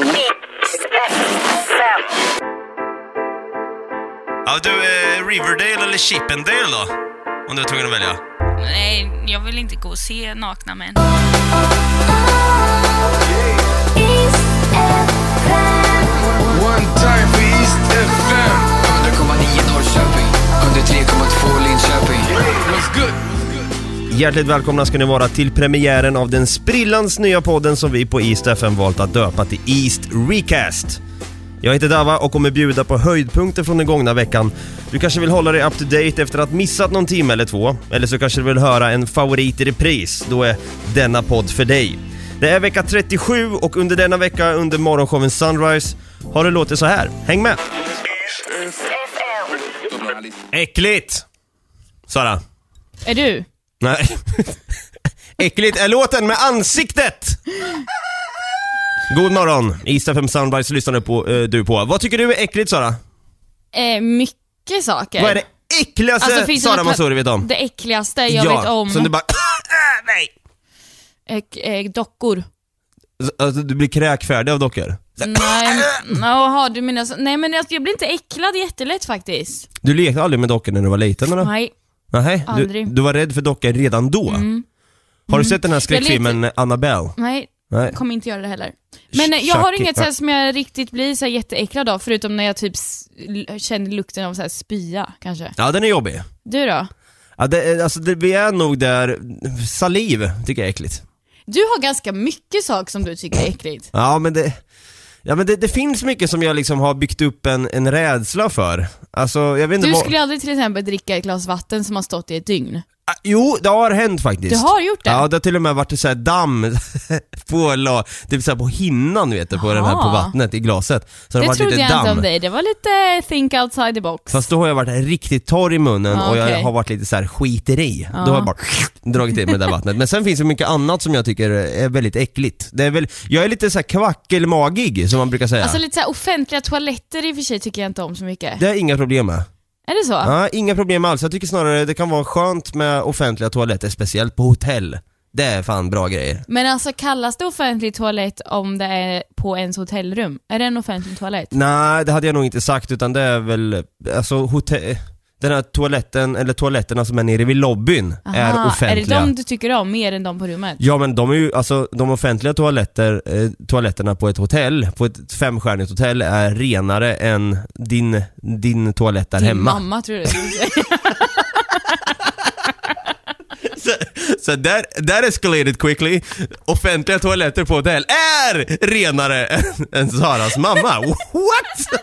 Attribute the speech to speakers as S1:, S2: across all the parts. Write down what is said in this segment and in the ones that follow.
S1: Mix FM.
S2: Ja, du, eh, Riverdale eller Chippendale då? Om du är tvungen att välja.
S3: Nej, jag vill inte gå och se nakna män.
S4: One time for East FM
S5: 100,9 Norrköping, 103,2 Linköping.
S4: What's good?
S2: Hjärtligt välkomna ska ni vara till premiären av den sprillans nya podden som vi på East FM valt att döpa till East Recast. Jag heter Dava och kommer bjuda på höjdpunkter från den gångna veckan. Du kanske vill hålla dig up to date efter att missat någon timme eller två, eller så kanske du vill höra en favorit i repris. Då är denna podd för dig. Det är vecka 37 och under denna vecka under morgonshowen Sunrise har det låtit så här. Häng med! Äckligt! Sara.
S6: Är du?
S2: Nej. Äckligt är låten med ansiktet! God morgon, Ista 5 Soundbites lyssnar du på, eh, du på. Vad tycker du är äckligt Sara?
S6: Eh, mycket saker.
S2: Vad är det äckligaste
S6: Alltså, finns det
S2: Sara
S6: något-
S2: Mansour vet om?
S6: Det äckligaste jag vet om.
S2: Som du bara, "Ah, nej!
S6: Eh, eh, dockor.
S2: Alltså, du blir kräkfärdig av dockor. Så-
S6: Nej, men- jaha du menar så. Nej men jag, jag blir inte äcklad jättelätt faktiskt.
S2: Du lekte aldrig med dockor när du var liten eller?
S6: Nej.
S2: Nej, du,
S6: aldrig. Mm.
S2: du var rädd för dockor redan då? Har du sett den här skräckfilmen Annabelle?
S6: Nej,
S2: Nej.
S6: kommer inte göra det heller. Men eh,
S2: Sh-
S6: jag har
S2: Chucky.
S6: inget så här, som jag riktigt blir så här, jätteäcklad av, förutom när jag typ s- l- känner lukten av så här, spya kanske.
S2: Ja, den är jobbig.
S6: Du då?
S2: Ja, det, är- alltså, det, vi är nog där, saliv tycker jag är äckligt.
S6: Du har ganska mycket saker som du tycker är äckligt.
S2: Ja men det, ja, men det, det finns mycket som jag liksom har byggt upp en, en rädsla för. Alltså jag vet inte
S6: Du
S2: vad...
S6: skulle aldrig till exempel dricka ett glas vatten som har stått i ett dygn.
S2: Ah, Jo, det har hänt faktiskt.
S6: Du har gjort det?
S2: Ja, det har till och med varit så här damm på, la, typ så här på hinnan vet du, på den här på
S6: Jaha.
S2: vattnet i glaset. Så har
S6: Det
S2: varit
S6: trodde
S2: lite
S6: jag
S2: damm.
S6: inte om dig, det var lite think outside the box.
S2: Fast då har jag varit riktigt torr i munnen
S6: Ja,
S2: och jag
S6: Ah, okej. Ah.
S2: har varit lite så här skiteri. Då har jag bara dragit i mig det där vattnet. Men sen finns det mycket annat som jag tycker är väldigt äckligt. Det är väl, jag är lite så här kvackelmagig som man brukar säga.
S6: Alltså lite så här offentliga toaletter i och för sig tycker jag inte om så mycket.
S2: det är inga problem med.
S6: Är det så?
S2: Ja, inga problem alls. Jag tycker snarare det kan vara skönt med offentliga toaletter, speciellt på hotell. Det är fan bra grejer.
S6: Men alltså kallas det offentlig toalett om det är på ens hotellrum? Är det en offentlig toalett?
S2: Nej, det hade jag nog inte sagt utan det är väl, alltså hotell... Den här toaletten, eller toaletterna som är nere vid lobbyn är offentliga.
S6: Är det de du tycker om mer än de på rummet?
S2: Ja men de är ju, alltså de offentliga toaletter, eh, toaletterna på ett hotell, på ett femstjärnigt hotell är renare än din, din toalett där
S6: Din
S2: hemma.
S6: mamma tror du
S2: Så där, där escalated quickly. Offentliga toaletter på hotell är renare än, än Saras mamma. What?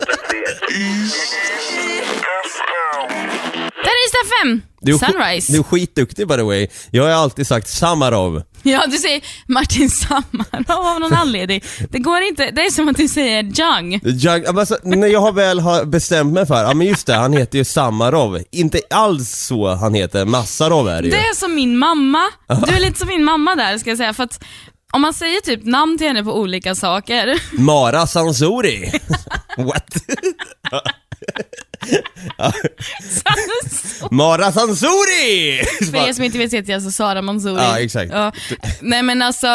S6: Där är Ystad 5!
S2: Du är, sk-
S6: Sunrise.
S2: du är skitduktig by the way. Jag har alltid sagt Samarov.
S6: Ja, du säger Martin Sammarov av någon anledning. Det går inte, det är som att du säger Jung.
S2: Jag, ja, men alltså, när jag har väl har bestämt mig för, ja men just det, han heter ju Samarov. Inte alls så han heter, Massarov är det ju.
S6: Det är som min mamma. Du är lite som min mamma där ska jag säga. För att om man säger typ namn till henne på olika saker.
S2: Mara Sansori. What? Mara Sansori!
S6: För er som inte vet så heter jag alltså Sara Mansouri.
S2: Ja, exakt.
S6: Ja. Nej men alltså,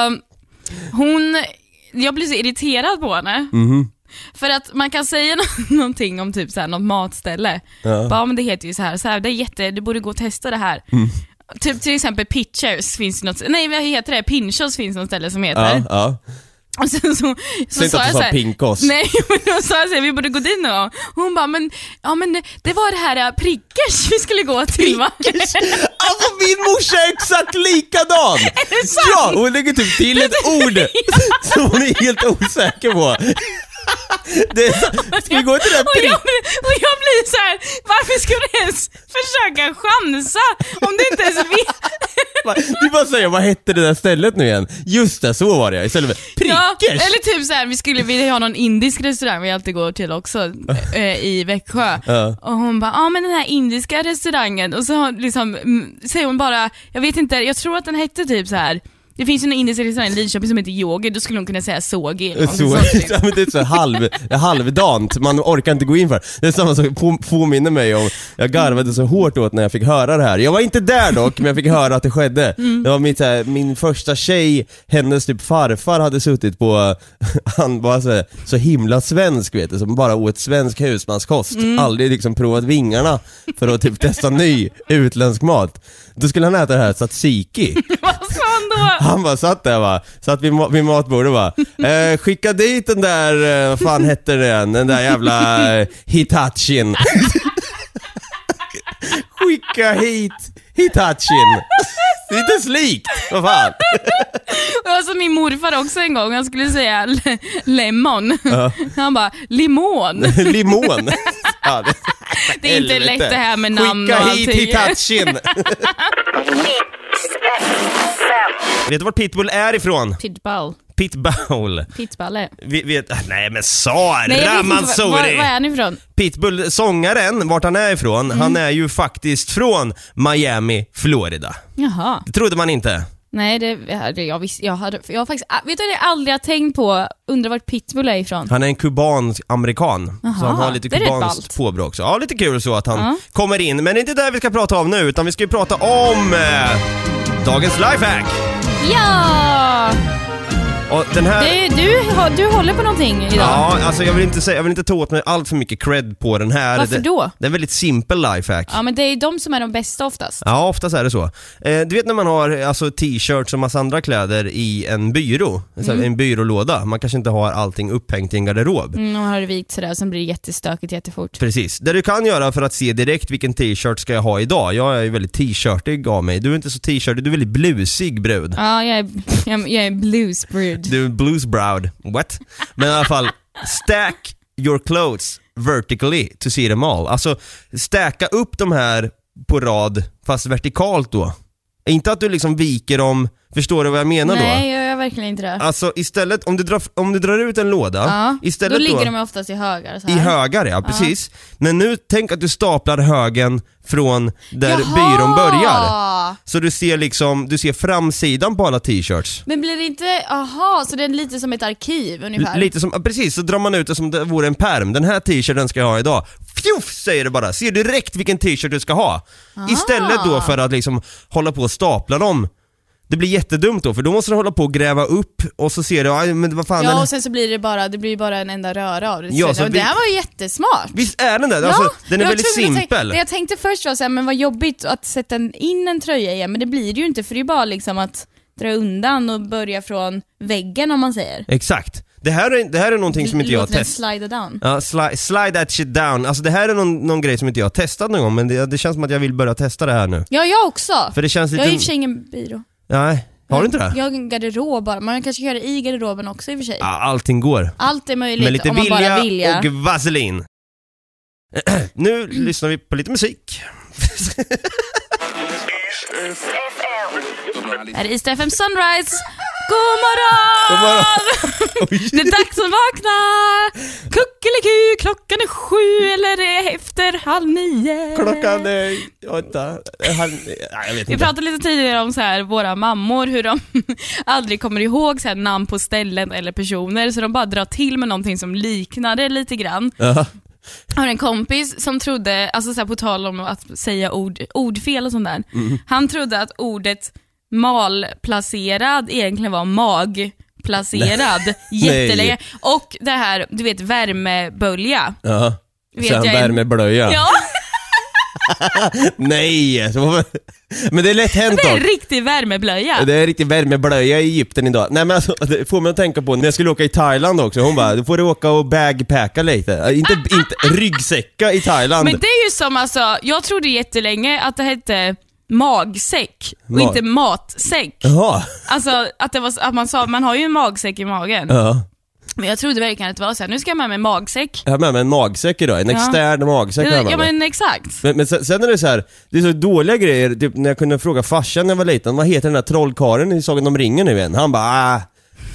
S6: hon, jag blir så irriterad på henne.
S2: Mhm.
S6: För att man kan säga nå- någonting om typ så här, något matställe. Ja. Bara, men det heter ju så här, så här det är jätte, du borde gå och testa det här.
S2: Mm.
S6: Typ till exempel Pitchers finns det något, nej vad heter det? Pinchos finns något ställe som heter.
S2: Ja, ja.
S6: Och sen så, så,
S2: Säg inte att du
S6: jag
S2: sa
S6: så här-
S2: pinkos.
S6: Nej, men då sa jag så här, vi borde gå dit någon gång. Hon bara, men, ja, men det- det var det här äh, prickers vi skulle gå till va?
S2: Alltså min morsa är exakt likadan!
S6: det sant?
S2: Ja, hon lägger typ till ett ord som hon är helt osäker på. Det är, så- ska vi gå till den
S6: Och jag,
S2: prick?
S6: blir- och jag blir så här, varför ska du ens försöka chansa om du inte ens vet?
S2: Du bara säger, vad hette det där stället nu igen? Just det, så var det istället för
S6: Ja,
S2: prickers!
S6: eller typ så här, vi skulle vilja ha någon indisk restaurang vi alltid går till också eh, i Växjö.
S2: Ja.
S6: Och hon bara, ja ah, men den här indiska restaurangen och så har hon liksom, mm, säger hon bara, jag vet inte, jag tror att den hette typ så här Det finns ju en indisk restaurang i Linköping som heter Yogi, då skulle hon kunna säga Sogi eller något
S2: Så,
S6: sånt.
S2: ja, men det är så här halv, halvdant, man orkar inte gå in för det. Det är samma som på- påminner mig om, jag garvade så hårt åt när jag fick höra det här. Jag var inte där dock, men jag fick höra att det skedde. Det var mitt, så här, min första tjej, hennes typ farfar hade suttit på, han var så, här, så himla svensk vet du, som bara åt svensk husmanskost. Aldrig liksom provat vingarna för att typ testa ny utländsk mat. Då skulle han äta det här tzatziki.
S6: Vad sa hon då?
S2: Han bara satt där va, satt vid, ma- vid matbordet va. Eh, skicka dit den där, eh, vad fan hette den, den där jävla eh, Hitachin. skicka hit Hitachin. Det är inte ens likt, vad fan.
S6: Det var som min morfar också en gång, han skulle säga le- lemon. Han bara, limon.
S2: Limon. Ja, det,
S6: Det är inte
S2: helvete.
S6: lätt det här med namn
S2: Skicka
S6: och
S2: hit
S6: allting.
S2: Hitachin.
S1: Pittsburgh.
S2: Vet du vart Pitbull är ifrån?
S6: Pitbull.
S2: Pitbull.
S6: Pitballe.
S2: Vi vet, nej men
S6: Nej, jag vet
S2: Sara
S6: inte, vad- Var, var
S2: Mansouri!
S6: är han ifrån?
S2: Pitbull, sångaren, vart han är ifrån,
S6: Mm.
S2: han är ju faktiskt från Miami, Florida.
S6: Jaha.
S2: Det trodde man inte.
S6: Nej, det, jag, jag, visste, jag, hade, jag har faktiskt, vet du vad jag aldrig har tänkt på? Undrar vart Pitbull är ifrån?
S2: Han är en kubansk amerikan, så
S6: Aha,
S2: han har lite
S6: det är rätt
S2: kubanskt
S6: ballt.
S2: påbrå också. Ja, lite kul så att han
S6: Ja.
S2: kommer in. Men det är inte det vi ska prata om nu, utan vi ska ju prata om eh, dagens lifehack.
S6: Ja!
S2: Och den här...
S6: Du, du, har- du håller på någonting idag.
S2: Ja, alltså jag vill inte säga, jag vill inte ta åt mig allt för mycket cred på den här.
S6: Varför
S2: Det-
S6: då?
S2: Det är en väldigt simpel lifehack.
S6: Ja, men det är ju de som är de bästa oftast.
S2: Ja, oftast är det så. Eh, du vet när man har eh, alltså, t-shirts och massa andra kläder i en byrå, så här, en byrålåda. Man kanske inte har allting upphängt i en garderob.
S6: Mm, och har det vikt sådär, sen blir det jättestökigt jättefort.
S2: Precis. Det du kan göra för att se direkt vilken t-shirt ska jag ha idag. Jag är ju väldigt t-shirtig av mig. Du är inte så t-shirtig, du är väldigt blusig brud.
S6: Ja, jag är, jag, jag är bluesbrood.
S2: Du är blues browd. What? Men i alla fall, stack your clothes vertically to see them all. Alltså, stacka upp de här på rad, fast vertikalt då. Inte att du liksom viker dem, förstår du vad jag menar då?
S6: Nej, jag gör verkligen inte det.
S2: Alltså istället, om du drar, om du drar ut en låda,
S6: Ja,
S2: istället
S6: då
S2: då,
S6: ligger de oftast i högar. Så
S2: i
S6: här.
S2: högar ja, precis. Men nu, tänk att du staplar högen från där byrån börjar. Så du ser liksom, du ser framsidan på alla t-shirts.
S6: Men blir det inte, aha, så det är lite som ett arkiv ungefär?
S2: L- Lite som, ja, precis, så drar man ut det som det vore en perm. Den här t-shirten ska jag ha idag. Fjuff säger det bara, ser direkt vilken t-shirt du ska ha. Istället då för att liksom hålla på och stapla dem. Det blir jättedumt då, för då måste du hålla på och gräva upp och så ser du, aj, men vad fan den
S6: ja, och sen så blir det bara, det blir bara en enda röra av det.
S2: Ja,
S6: Ja,
S2: så
S6: det
S2: vi-
S6: här var ju jättesmart.
S2: Visst är den det? alltså, den är
S6: jag
S2: väldigt
S6: trodde-
S2: simpel.
S6: Det jag tänkte först var såhär, men vad jobbigt att sätta en- in en tröja igen, men det blir det ju inte för det är bara liksom att dra undan och börja från väggen om man säger.
S2: Exakt. Det här är, det här är någonting som inte jag har
S6: Låt den
S2: testat.
S6: slida down.
S2: Ja, slide, slide that shit down. Alltså det här är någon, någon grej som inte jag har testat någon gång, men det, det känns som att jag vill börja testa det här nu.
S6: Ja, jag också.
S2: För det känns
S6: jag har i och
S2: lite...
S6: för sig ingen byrå.
S2: Nej, har du inte det?
S6: Jag har en garderob bara, man kanske kan göra det i garderoben också i och för sig.
S2: Ja, allting går.
S6: Allt är möjligt
S2: Med lite
S6: om man bara
S2: vilja,
S6: vilja.
S2: och vaselin. nu lyssnar vi på lite musik.
S6: Här är East FM Sunrise. God
S2: God
S6: morgon! Ah,
S2: morgon!
S6: Det är dags att vakna! Kuckeliku, klockan är sju eller det är efter halv nio.
S2: Klockan är åtta, halv... Nej, jag vet
S6: Vi
S2: inte.
S6: pratade lite tidigare om så här, våra mammor, hur de aldrig kommer ihåg så här, namn på ställen eller personer, så de bara drar till med någonting som liknar det lite grann.
S2: Ja.
S6: Jag har en kompis som trodde, alltså så här, på tal om att säga ord, ordfel och sånt där, han trodde att ordet malplacerad egentligen var magplacerad jättelänge. Och det här, du vet värmebölja.
S2: Ja.
S6: Vet
S2: Sen
S6: jag en-
S2: värmeblöja.
S6: Ja,
S2: Nej! så- Men det är lätt hänt
S6: det är en
S2: dock.
S6: riktig värmeblöja.
S2: Det är riktigt värmeblöja i Egypten idag. Nej men alltså, det får mig att tänka på när jag skulle åka i Thailand också, hon bara, då får du åka och bagpacka lite. Äh,
S6: Ah,
S2: Inte, inte ryggsäcka i Thailand.
S6: Men det är ju som alltså, jag trodde jättelänge att det hette magsäck och
S2: Mag-
S6: inte matsäck.
S2: Jaha.
S6: Alltså att, det var, så- att man sa, man har ju en magsäck i magen.
S2: Ja.
S6: Men jag trodde verkligen att det var såhär, nu ska jag med mig magsäck.
S2: Jag har med mig en magsäck idag, en
S6: Ja.
S2: extern magsäck har jag
S6: Ja
S2: med mig.
S6: men exakt.
S2: Men, men sen sen är det så här, det är så dåliga grejer, typ när jag kunde fråga farsan när jag var liten, vad heter den där trollkaren i Sagan om ringen nu igen? Han bara, ah,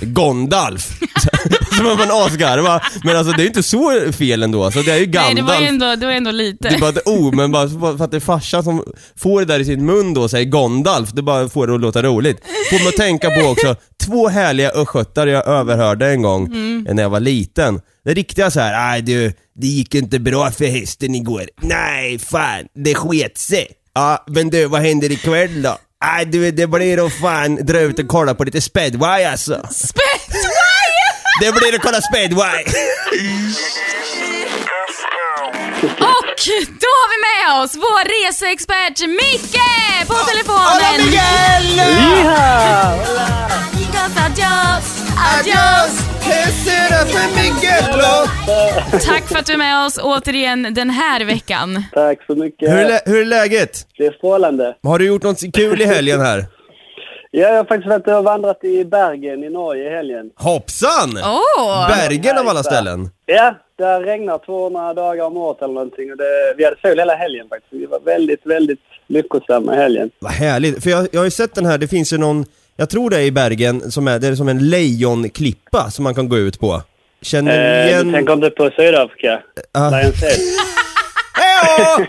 S2: Gondalf. så man bara asgarva. Men alltså det är ju inte så fel ändå. Alltså, det är ju
S6: Nej, det
S2: Gandalf.
S6: var ju ändå, det var ju ändå
S2: Det är
S6: lite.
S2: bara ett O, men bara för att det är farsan som får det där i sin mun då, säger Gondalf, det bara får det att låta roligt. Får mig att tänka på också, två härliga östgötar jag överhörde en gång när jag var liten. Det riktiga så här, nej du, det gick inte bra för hästen igår. Nej, fan, det sket sig. Ja, men du, vad händer ikväll då? Nej du, det blir att fan dra ut och kolla på lite speedway alltså. Det blir att kolla speedway.
S6: Och då har vi med oss vår reseexpert Micke på
S2: Hola
S6: telefonen.
S2: Miguel!
S6: Amigos, adios, adios. Tack för att du är med oss återigen den här veckan.
S7: Tack så mycket.
S2: Hur är, lä- hur är läget?
S7: Det är strålande.
S2: Har du gjort något kul i helgen här?
S7: Ja, jag har faktiskt varit och vandrat i Bergen i Norge i helgen.
S2: Hoppsan!
S6: Åh!
S2: Bergen av alla ställen.
S7: Ja, där regnar 200 dagar om året eller någonting. Och det, vi hade sol hela helgen faktiskt. Vi var väldigt, väldigt lyckosamma i helgen.
S2: Vad härligt. För jag, jag har ju sett den här, det finns ju någon, jag tror det är i Bergen, som är, det är som en lejonklippa som man kan gå ut på. Känner ni
S7: Eh, du
S2: igen...
S7: tänker inte på Sydafrika?
S2: Ah.
S7: Lions Head?
S2: Hej då!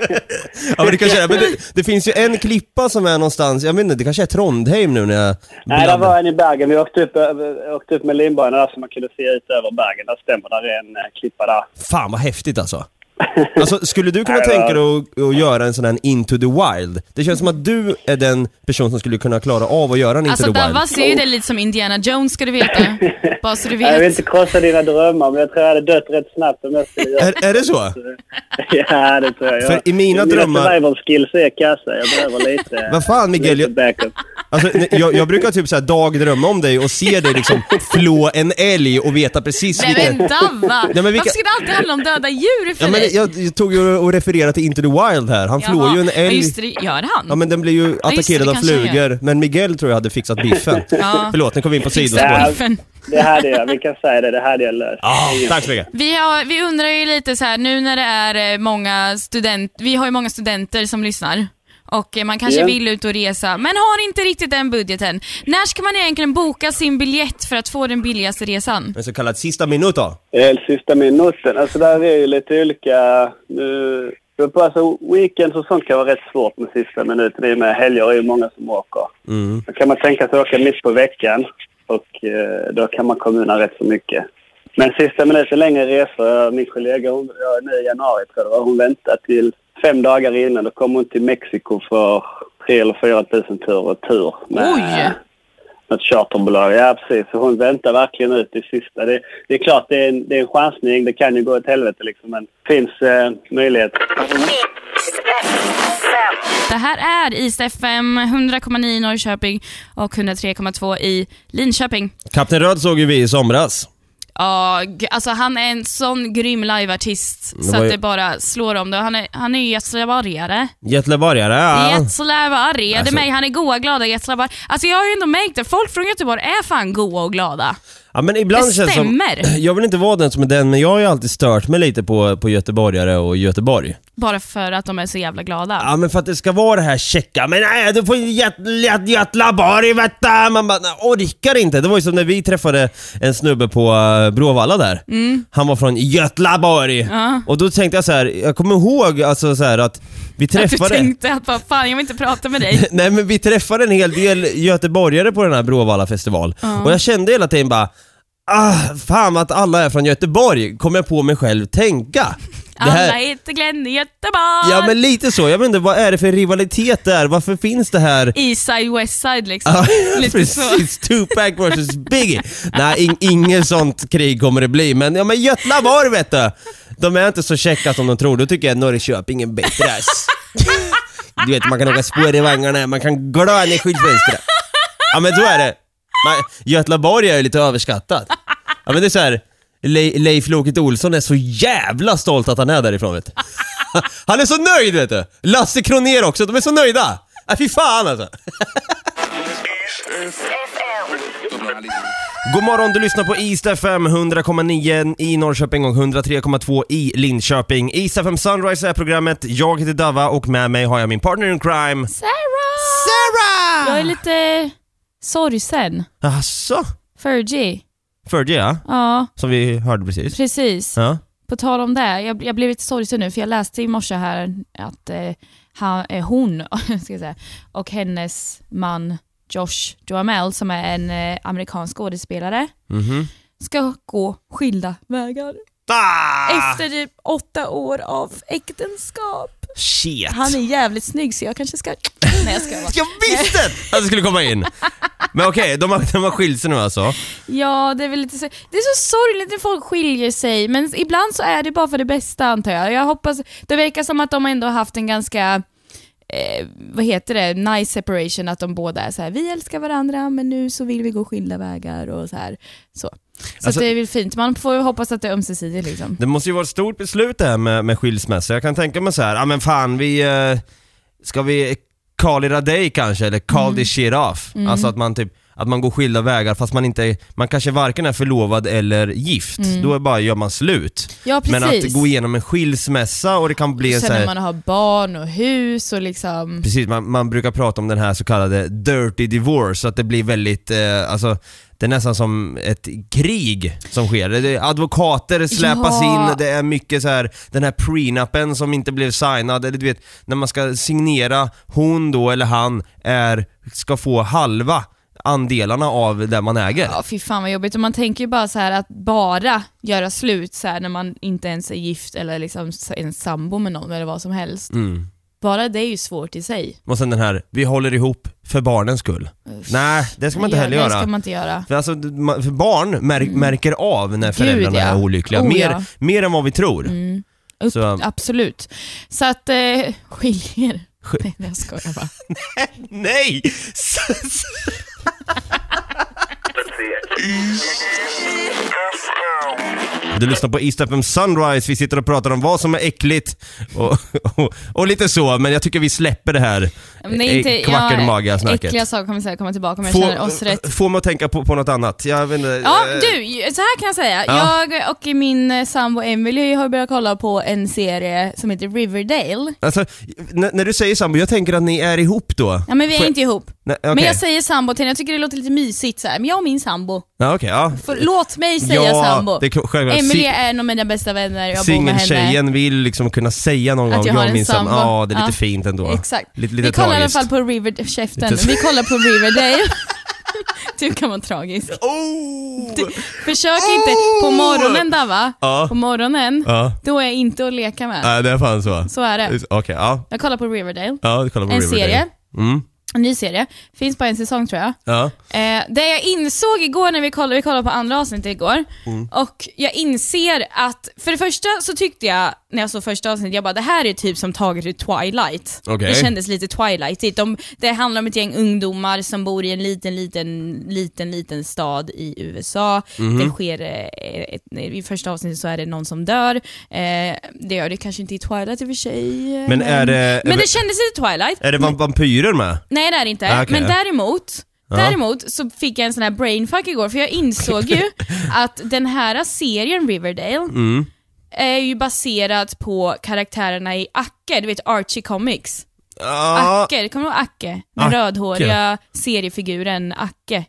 S2: ja, men det, kanske är, men det, det finns ju en klippa som är någonstans, jag vet inte, det kanske är Trondheim nu när jag...
S7: Nej, där
S2: blandar.
S7: var en i Bergen. Vi åkte upp, över- åkte upp med linbanan där så man kunde se ut över Bergen. Där stämmer, där är en eh, klippa där.
S2: Fan vad häftigt alltså. Alltså skulle du kunna
S7: Nej,
S2: tänka
S7: det
S2: dig att, att göra en sån här Into the Wild? Det känns som att du är den person som skulle kunna klara av att göra en Into
S6: Alltså
S2: the Wild.
S6: Davva ser ju det lite som Indiana Jones ska du veta. Bara så du
S7: Nej, Jag vill
S6: vet.
S7: inte krossa dina drömmar, men jag tror jag hade dött rätt snabbt om jag skulle göra
S2: Är, är det så?
S7: Ja, det tror jag.
S2: För i mina
S7: Mina
S2: drömmar-
S7: survival skills är kassa. Jag behöver lite...
S2: Vad fan Miguel,
S7: lite
S2: jag,
S7: backup.
S2: alltså, nej, jag, jag brukar typ såhär dagdrömma om dig och se dig liksom flå en älg och veta precis
S6: Nej
S2: vilken...
S6: men Davva!
S2: men vilka-
S6: Varför ska det alltid handla om döda djur för
S2: Ja, men
S6: dig?
S2: jag, jag tog ju och refererade till Into the Wild här, han flår
S6: Jaha.
S2: ju en
S6: Ja,
S2: älg.
S6: just det, gör han?
S2: Ja men den blir ju
S6: just det,
S2: attackerad
S6: det
S2: av
S6: kanske han
S2: flugor, men Miguel tror jag hade fixat biffen.
S6: Ja.
S2: Förlåt, nu kom vi in på
S6: Typ
S7: Ja.
S2: sidospår.
S6: Biffen.
S7: Det hade jag. Vi kan säga det. Det hade jag löst.
S2: Ah, tack så mycket.
S6: Vi, har, vi undrar ju lite så här nu när det är eh, många student, vi har ju många studenter som lyssnar och eh, man kanske
S7: Ja.
S6: vill ut och resa men har inte riktigt den budgeten. När ska man egentligen boka sin biljett för att få den billigaste resan?
S2: En så kallad sista minut då.
S7: El sista minuten. Alltså där är ju lite olika... Nu, för på alltså, weekends och sånt kan vara rätt svårt med sista minuten. I och med helger är ju många som åker. Då kan man tänka sig att åka mitt på veckan och eh, då kan man komma undan rätt så mycket. Men sista minuten längre resor. Min kollega hon, ja, nu i januari tror jag det var, hon väntade till fem dagar innan. Då kom hon till Mexiko för tre eller fyra tusen tur och tur. med-
S6: Oj!
S7: något charterbolag. Ja, precis. Så hon väntar verkligen ut i sista. Det, det är klart, det är, en, det är en chansning. Det kan ju gå åt helvete liksom, men det finns eh, möjlighet.
S6: Det här är East FM 100,9 i Norrköping och 103,2 i Linköping.
S2: Kapten Röd såg ju vi i somras.
S6: Ja, g- alltså han är en sån grym liveartist så
S2: var ju-
S6: att det bara slår om det. Han är, han är ju göteborgare.
S2: Göteborgare, ja. Alltså-
S6: Göteborgare, det är mig. Han är goa och glada göteborgare. Alltså jag har ju ändå märkt det, folk från Göteborg är fan goa och glada.
S2: ja men ibland
S6: Det
S2: känns som,
S6: stämmer.
S2: Jag vill inte vara den som är den, men jag har ju alltid stört mig lite på, på göteborgare och Göteborg.
S6: Bara för att de är så jävla glada.
S2: Ja men för att det ska vara det här checka, men nej du får Göteborg vet du. Man bara, nej, orkar inte. Det var ju som när vi träffade en snubbe på eh, Bråvalla där.
S6: Mm.
S2: Han var från Göteborg. Och då tänkte jag så här, jag kommer ihåg alltså så här att vi
S6: Att du
S2: träffade...
S6: tänkte att vad fan, jag vill inte prata med dig.
S2: Nej men vi träffade en hel del göteborgare på den här Bråvalla festival och jag kände hela tiden bara Ah, fan att alla är från Göteborg, kom jag på mig själv tänka. Det
S6: Alla
S2: här,
S6: heter Glenn i Göteborg.
S2: ja men lite så, jag vet inte vad är det för rivalitet där? Varför finns det här?
S6: Eastside, Westside liksom.
S2: Ja,
S6: Lite så.
S2: Precis, Tupac vs Biggie. Nej, in, inget sånt krig kommer det bli, men ja men Göteborg vet du. De är inte så käcka som de tror, då tycker jag Norrköping är bättre. ass. Du vet, man kan åka spår i vangarna, man kan glöna i skyltfönstret. Ja men så är det. Man, Göteborg är ju lite överskattat. Ja men det är så här. Le- Leif Loket Olsson är så jävla stolt att han är därifrån vet du. Han är så nöjd vet du! Lasse Kronér också, de är så nöjda! Äh, fy fan alltså! God morgon, du lyssnar på East FM 100,9 i Norrköping och 103,2 i Linköping. East FM Sunrise är programmet, jag heter Dava och med mig har jag min partner in crime,
S6: Sarah!
S2: Sarah!
S6: Ah. Jag är lite sorgsen.
S2: Jaså?
S6: Fergie.
S2: Fergie ja,
S6: Ja,
S2: som vi hörde precis.
S6: precis.
S2: Ja.
S6: På tal om det, jag, jag blev lite sorgsen nu för jag läste i morse här att eh, han, eh, hon ska jag säga, och hennes man Josh Duhamel som är en eh, amerikansk skådespelare Mm-hmm. ska gå skilda vägar
S2: Ah!
S6: efter typ åtta år av äktenskap.
S2: Shit!
S6: Han är jävligt snygg så jag kanske ska... Nej jag ska bara.
S2: Jag visste att det skulle komma in! Men okej, de, har, de har skilt sig nu alltså.
S6: Ja, det är väl lite så... Det är så sorgligt när folk skiljer sig, men ibland så är det bara för det bästa antar jag. Jag hoppas... Det verkar som att de ändå har haft en ganska, eh, vad heter det, nice separation, att de båda är så här, vi älskar varandra men nu så vill vi gå skilda vägar och så här. Så, så
S2: Alltså-
S6: att det är väl fint. Man får ju hoppas att det är ömsesidigt liksom.
S2: Det måste ju vara ett stort beslut det här med, med skilsmässa. Jag kan tänka mig så här, ja ah, men fan vi, eh, ska vi call it a day kanske? Eller call
S6: Mm.
S2: this shit off? Alltså att man typ, att man går skilda vägar fast man inte, man kanske varken är förlovad eller gift. Då är bara, gör man slut.
S6: Mm. Ja, precis.
S2: Men att gå igenom en skilsmässa och det kan bli
S6: Sen
S2: så här,
S6: när man har barn och hus och liksom...
S2: Precis, man, man brukar prata om den här så kallade dirty divorce, så att det blir väldigt, eh, alltså det är nästan som ett krig som sker. Det är advokater släpas
S6: Ja.
S2: in, det är mycket så här den här prenupen som inte blev signad, eller du vet, när man ska signera, hon då eller han är, ska få halva andelarna av det man äger.
S6: Ja fy fan vad jobbigt, och man tänker ju bara så här att bara göra slut så här när man inte ens är gift eller liksom s- ens sambo med någon eller vad som helst.
S2: Mm.
S6: Bara det är ju svårt i sig.
S2: Och sen den här, vi håller ihop för barnens skull. Nej, det ska man inte
S6: Ja,
S2: heller
S6: det
S2: göra.
S6: ska man inte göra.
S2: För, alltså, ma- för barn mär- märker av när föräldrarna
S6: Mm. ja.
S2: är olyckliga,
S6: Oh,
S2: mer,
S6: ja. Mm.
S2: mer än vad vi tror.
S6: Upp,
S2: Så-
S6: Absolut. Så att, eh, skiljer. Nej jag skojar bara.
S2: Äh, Nej! Du lyssnar på East FM Sunrise, vi sitter och pratar om vad som är äckligt och, och, och lite så, men jag tycker vi släpper det här
S6: Nej,
S2: eh, kvackelmaga snacket.
S6: Äckliga saker kommer säkert komma tillbaka om jag känner
S2: Få,
S6: oss rätt.
S2: få mig att tänka på, på något annat. Jag vet inte,
S6: Ja,
S2: eh,
S6: du, så här kan jag säga.
S2: Ja.
S6: Jag och min eh, sambo Emily har börjat kolla på en serie som heter Riverdale.
S2: Alltså, när, när du säger sambo, jag tänker att ni är ihop då?
S6: Ja men vi är
S2: Får jag-
S6: inte ihop.
S2: Nej, okej.
S6: Men jag säger sambo till henne, jag tycker det låter lite mysigt så här. men jag och min sambo.
S2: Ja, okej, ja.
S6: För, låt mig säga
S2: Ja,
S6: sambo.
S2: det är klart- självklart.
S6: Emily
S2: Si-
S6: är en av mina bästa vänner, jag bor med henne.
S2: Singeltjejen vill liksom kunna säga någon
S6: Att
S2: gång,
S6: jag har
S2: jag
S6: en
S2: minns
S6: sambo.
S2: Ja, det är lite
S6: Ja.
S2: fint ändå.
S6: Exakt.
S2: Lite, lite
S6: vi kollar
S2: tragiskt.
S6: i alla fall på River... Käften.
S2: Lite-
S6: Vi kollar på Riverdale. du kan vara tragisk.
S2: Oh!
S6: Försök inte, på morgonen där va?
S2: Ja.
S6: På morgonen,
S2: Ja,
S6: då är jag inte att leka med.
S2: nej, det är fan så.
S6: Så är det.
S2: Okej, ja.
S6: Jag kollar på Riverdale,
S2: Ja, vi kollar på
S6: en
S2: Riverdale.
S6: serie.
S2: Mm.
S6: En ny serie. Finns bara en säsong tror jag.
S2: Ja.
S6: Eh, det jag insåg igår när vi kollade, vi kollade på andra avsnittet igår,
S2: Mm.
S6: och jag inser att, för det första så tyckte jag när jag såg första avsnittet, jag bara det här är typ som taget ur Twilight.
S2: Okej.
S6: Det kändes lite Twilightigt. De, det handlar om ett gäng ungdomar som bor i en liten, liten, liten, liten stad i USA.
S2: Mhm.
S6: Det sker, eh, ett, i första avsnittet så är det någon som dör. Eh, det gör det kanske inte i Twilight i och för sig. eh.
S2: Men är det-
S6: men det kändes lite Twilight.
S2: Är det va- vampyrer med?
S6: Nej det är det inte,
S2: Ah, okej.
S6: men däremot Däremot så fick jag en sån här brainfuck igår, för jag insåg ju att den här serien Riverdale
S2: Mm.
S6: är ju baserad på karaktärerna i Acke, du vet Archie Comics.
S2: Ja.
S6: Acke, kommer du ihåg Acke? Den
S2: Ah. Acke.
S6: rödhåriga seriefiguren Acke.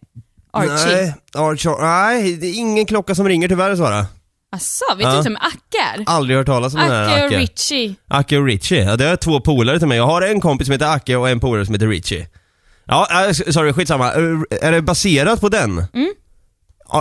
S6: Archie.
S2: Nej, Archie. Nej, det är ingen klocka som ringer tyvärr Sara.
S6: Asså, vet
S2: Ja.
S6: du inte vem Acke är?
S2: Aldrig hört talas om den här
S6: Acke och
S2: Ah. Acke.
S6: Richie.
S2: Acke och Richie. Ja, det är två polare till mig. Jag har en kompis som heter Acke och en polare som heter Richie. Ja, äh, s- sorry, skitsamma. Är- Är det baserat på den? Mm.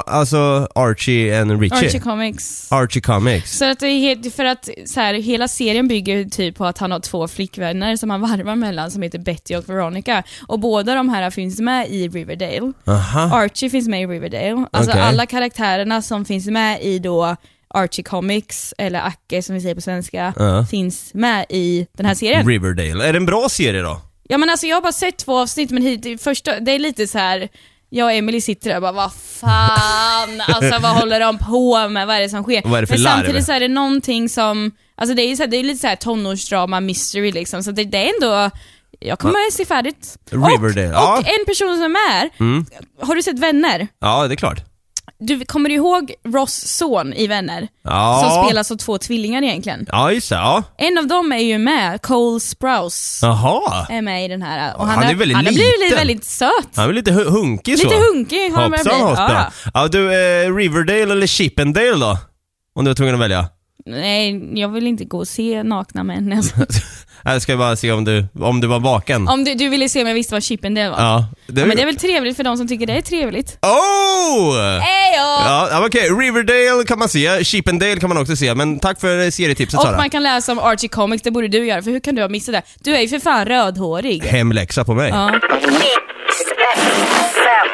S2: Alltså Archie and Richie?
S6: Archie
S2: Archie,
S6: Comics.
S2: Comics.
S6: Så att det är helt, för att så här, hela serien bygger typ på att han har två flickvänner som han varvar mellan som heter Betty och Veronica. Och båda de här finns med i Riverdale.
S2: Aha.
S6: Archie finns med i Riverdale. Alltså
S2: Ah. Okej.
S6: alla karaktärerna som finns med i då Archie Comics, eller Acke som vi säger på svenska,
S2: Ja.
S6: finns med i den här serien.
S2: Riverdale. Är det en bra serie då?
S6: ja men alltså jag har bara sett två avsnitt men hit, det första, det är lite så här. Jag och Emily sitter där och bara vad fan, alltså vad håller de på med, vad är det som sker?
S2: Vad är det för
S6: men
S2: larv?
S6: samtidigt så är det någonting som, alltså det är, ju så här, det är lite så här tonårsdrama, mystery liksom, så det, det är ändå, jag kommer se färdigt.
S2: Riverdale,
S6: och,
S2: ja. Mm.
S6: och en person som är, har du sett Vänner?
S2: Ja, det är klart.
S6: du kommer du ihåg Ross son i Vänner?
S2: Ja.
S6: Som spelas av två tvillingar egentligen.
S2: Ja, just det. Ja.
S6: En av dem är ju med, Cole Sprouse
S2: Jaha.
S6: är med i den här. Och
S2: Han är väldigt
S6: han har blivit
S2: liten.
S6: väldigt söt.
S2: Han är väl lite hu- hunkig så.
S6: Lite hunkig har han börjat bli.
S2: Hoppsan hoppsan.
S6: Ja.
S2: Ja. du, eh, Riverdale eller Chippendale då? Om du var tvungen att välja.
S6: Nej, jag vill inte gå och se nakna män. Alltså.
S2: Jag ska bara se om du, om du var vaken.
S6: Om du, du ville se om jag visste vad Chippendale var.
S2: Ja.
S6: Ja, Men det är väl trevligt för de som tycker det är trevligt.
S2: Oh!
S6: Ejo!
S2: Ja, ja, okej. Riverdale kan man se, Chippendale kan man också se, men tack för eh, serietipset
S6: Och
S2: Sara.
S6: man kan läsa om Archie Comics, det borde du göra för hur kan du ha missat det? Du är ju för fan rödhårig.
S2: Hemläxa på mig.
S6: Ja.
S1: Mix FM.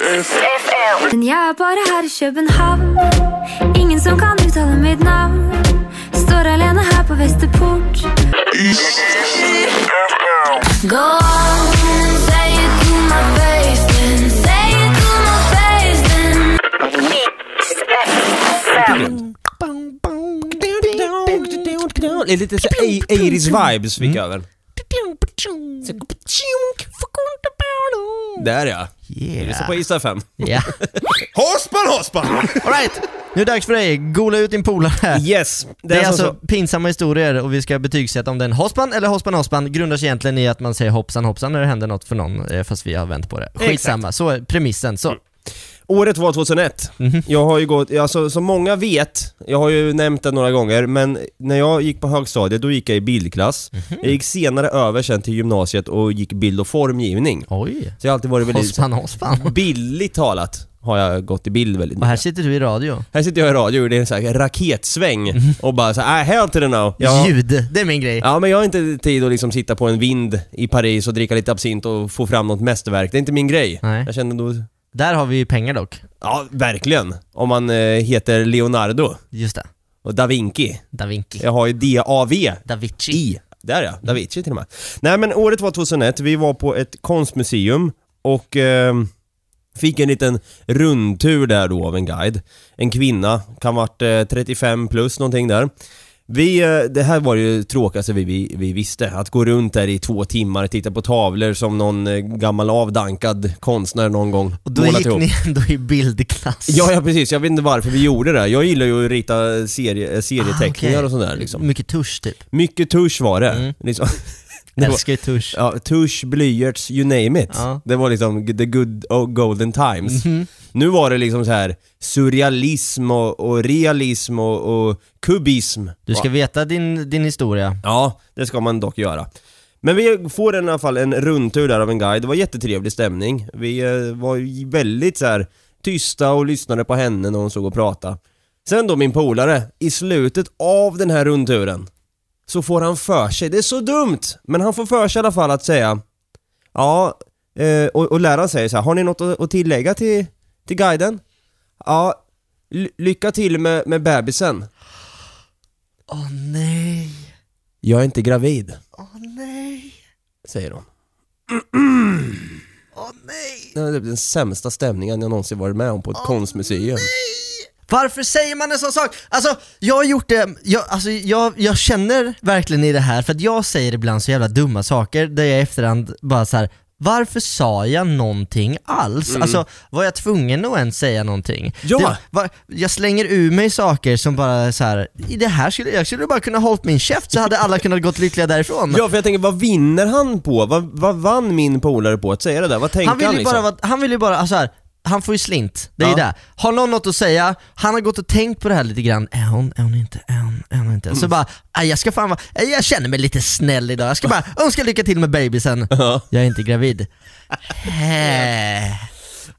S1: FM.
S8: Men jag är bara här i Köpenhamn Ingen som kan uttala mitt namn Står alena här på Västerport Go on and say it to my face then Say it to my face then
S1: Mix FM.
S2: Det är lite så 80s vibes fick jag över. Där ja. Vi lyssnar på Ystad 5.
S9: Ja.
S2: Hospan, hospan!
S9: Alright, nu är det dags för dig. Gola ut din polare.
S2: Yes.
S9: Det är alltså pinsamma historier och vi ska betygsätta om den hospan eller hospan hospan grundar sig egentligen i att man säger hoppsan hoppsan när det händer något för någon eh, fast vi har vänt på det. Skitsamma, så är premissen. Så.
S2: Mm. Året var 2001.
S9: Mhm.
S2: Jag har ju gått, alltså som många vet, jag har ju nämnt det några gånger, men när jag gick på högstadiet då gick jag i bildklass.
S9: Mhm.
S2: Jag gick senare över sen till gymnasiet och gick bild och formgivning.
S9: Oj,
S2: Så jag har alltid varit väldigt...
S9: hospan hospan.
S2: Billigt talat har jag gått i bild väldigt
S9: Och här
S2: mycket.
S9: sitter du i radio.
S2: Här sitter jag i radio och det är en sån här raketsväng och bara så här, "Ah, hell to the no. Jag-
S9: Mhm. Ljud, det är min grej.
S2: Ja men jag har inte tid att liksom sitta på en vind i Paris och dricka lite absint och få fram något mästerverk. Det är inte min grej.
S9: Nej.
S2: Jag känner då,
S9: Där har vi ju pengar dock.
S2: ja verkligen. Om man eh, heter Leonardo
S9: Just det,
S2: och Da Vinci.
S9: da Vinci.
S2: Jag har ju D-A-V
S9: Da Vinci.
S2: I. Där ja, Da Vinci till och med. Nej men året var 2001, vi var på ett konstmuseum och ehm, fick en liten rundtur där då av en guide. En kvinna, kan varit eh, 35 plus någonting där. Vi, eh, det här var ju det tråkigaste vi, vi, vi visste, att gå runt där i två timmar och titta på tavlor som någon eh, gammal avdankad konstnär någon gång
S9: Och då gick ni ändå i bildklass.
S2: Ja, ja precis, jag vet inte varför vi gjorde det. Jag gillar ju att rita serie, eh, serieteckningar och sådär liksom.
S9: Ah, Mycket tusch typ.
S2: Mycket tusch var det. Liksom. Det var-
S9: Mm. Älskar ju tusch.
S2: Ja, tusch, blyerts, you name it.
S9: Ja. Mhm.
S2: Det var liksom the good old golden times. Nu var det liksom så här surrealism och, och realism och, och kubism.
S9: Du ska veta din, din historia.
S2: Ja, det ska man dock göra. Men vi får i alla fall en rundtur där av en guide, det var jättetrevlig stämning. Vi eh, var ju väldigt så här tysta och lyssnade på henne när hon såg och pratade. Sen då min polare, i slutet av den här rundturen, så får han för sig, det är så dumt, men han får för sig i alla fall att säga Ja, eh, och, och läraren säger så här, har ni något att, att tillägga till, till guiden? Ja, ly- lycka till med, med bebisen.
S9: Åh nej,
S2: Jag är inte gravid,
S9: åh nej,
S2: säger hon.
S9: åh nej.
S2: Det var typ den sämsta stämningen jag någonsin varit med om
S9: Ah.
S2: på ett konstmuseum.
S9: Varför säger man en sån sak? Alltså, jag har gjort det, jag, alltså, jag, jag känner verkligen i det här, för att jag säger ibland så jävla dumma saker där jag i efterhand bara så här. Varför sa jag någonting alls? Alltså, var jag tvungen att ens säga någonting?
S2: Mm. Ja.
S9: Det, va, jag slänger ur mig saker som bara är så här. i det här skulle jag skulle bara kunna hållit min käft så hade alla kunnat gått lyckliga därifrån.
S2: Ja, för jag tänker, vad vinner han på? Vad, vad vann min polare på att säga det där? Vad tänkte
S9: han
S2: han,
S9: vill ju
S2: liksom?
S9: bara, vara, han vill ju bara, alltså här, han får ju slint, det är ju
S2: Ja.
S9: det. Har någon något att säga, han har gått och tänkt på det här lite grann, är hon, är hon inte, är hon, är hon inte? Så
S2: Mm.
S9: bara, "Aj, jag ska fan vara, "Aj, jag känner mig lite snäll idag, jag ska bara önska lycka till med bebisen. Jag är inte gravid. Hä.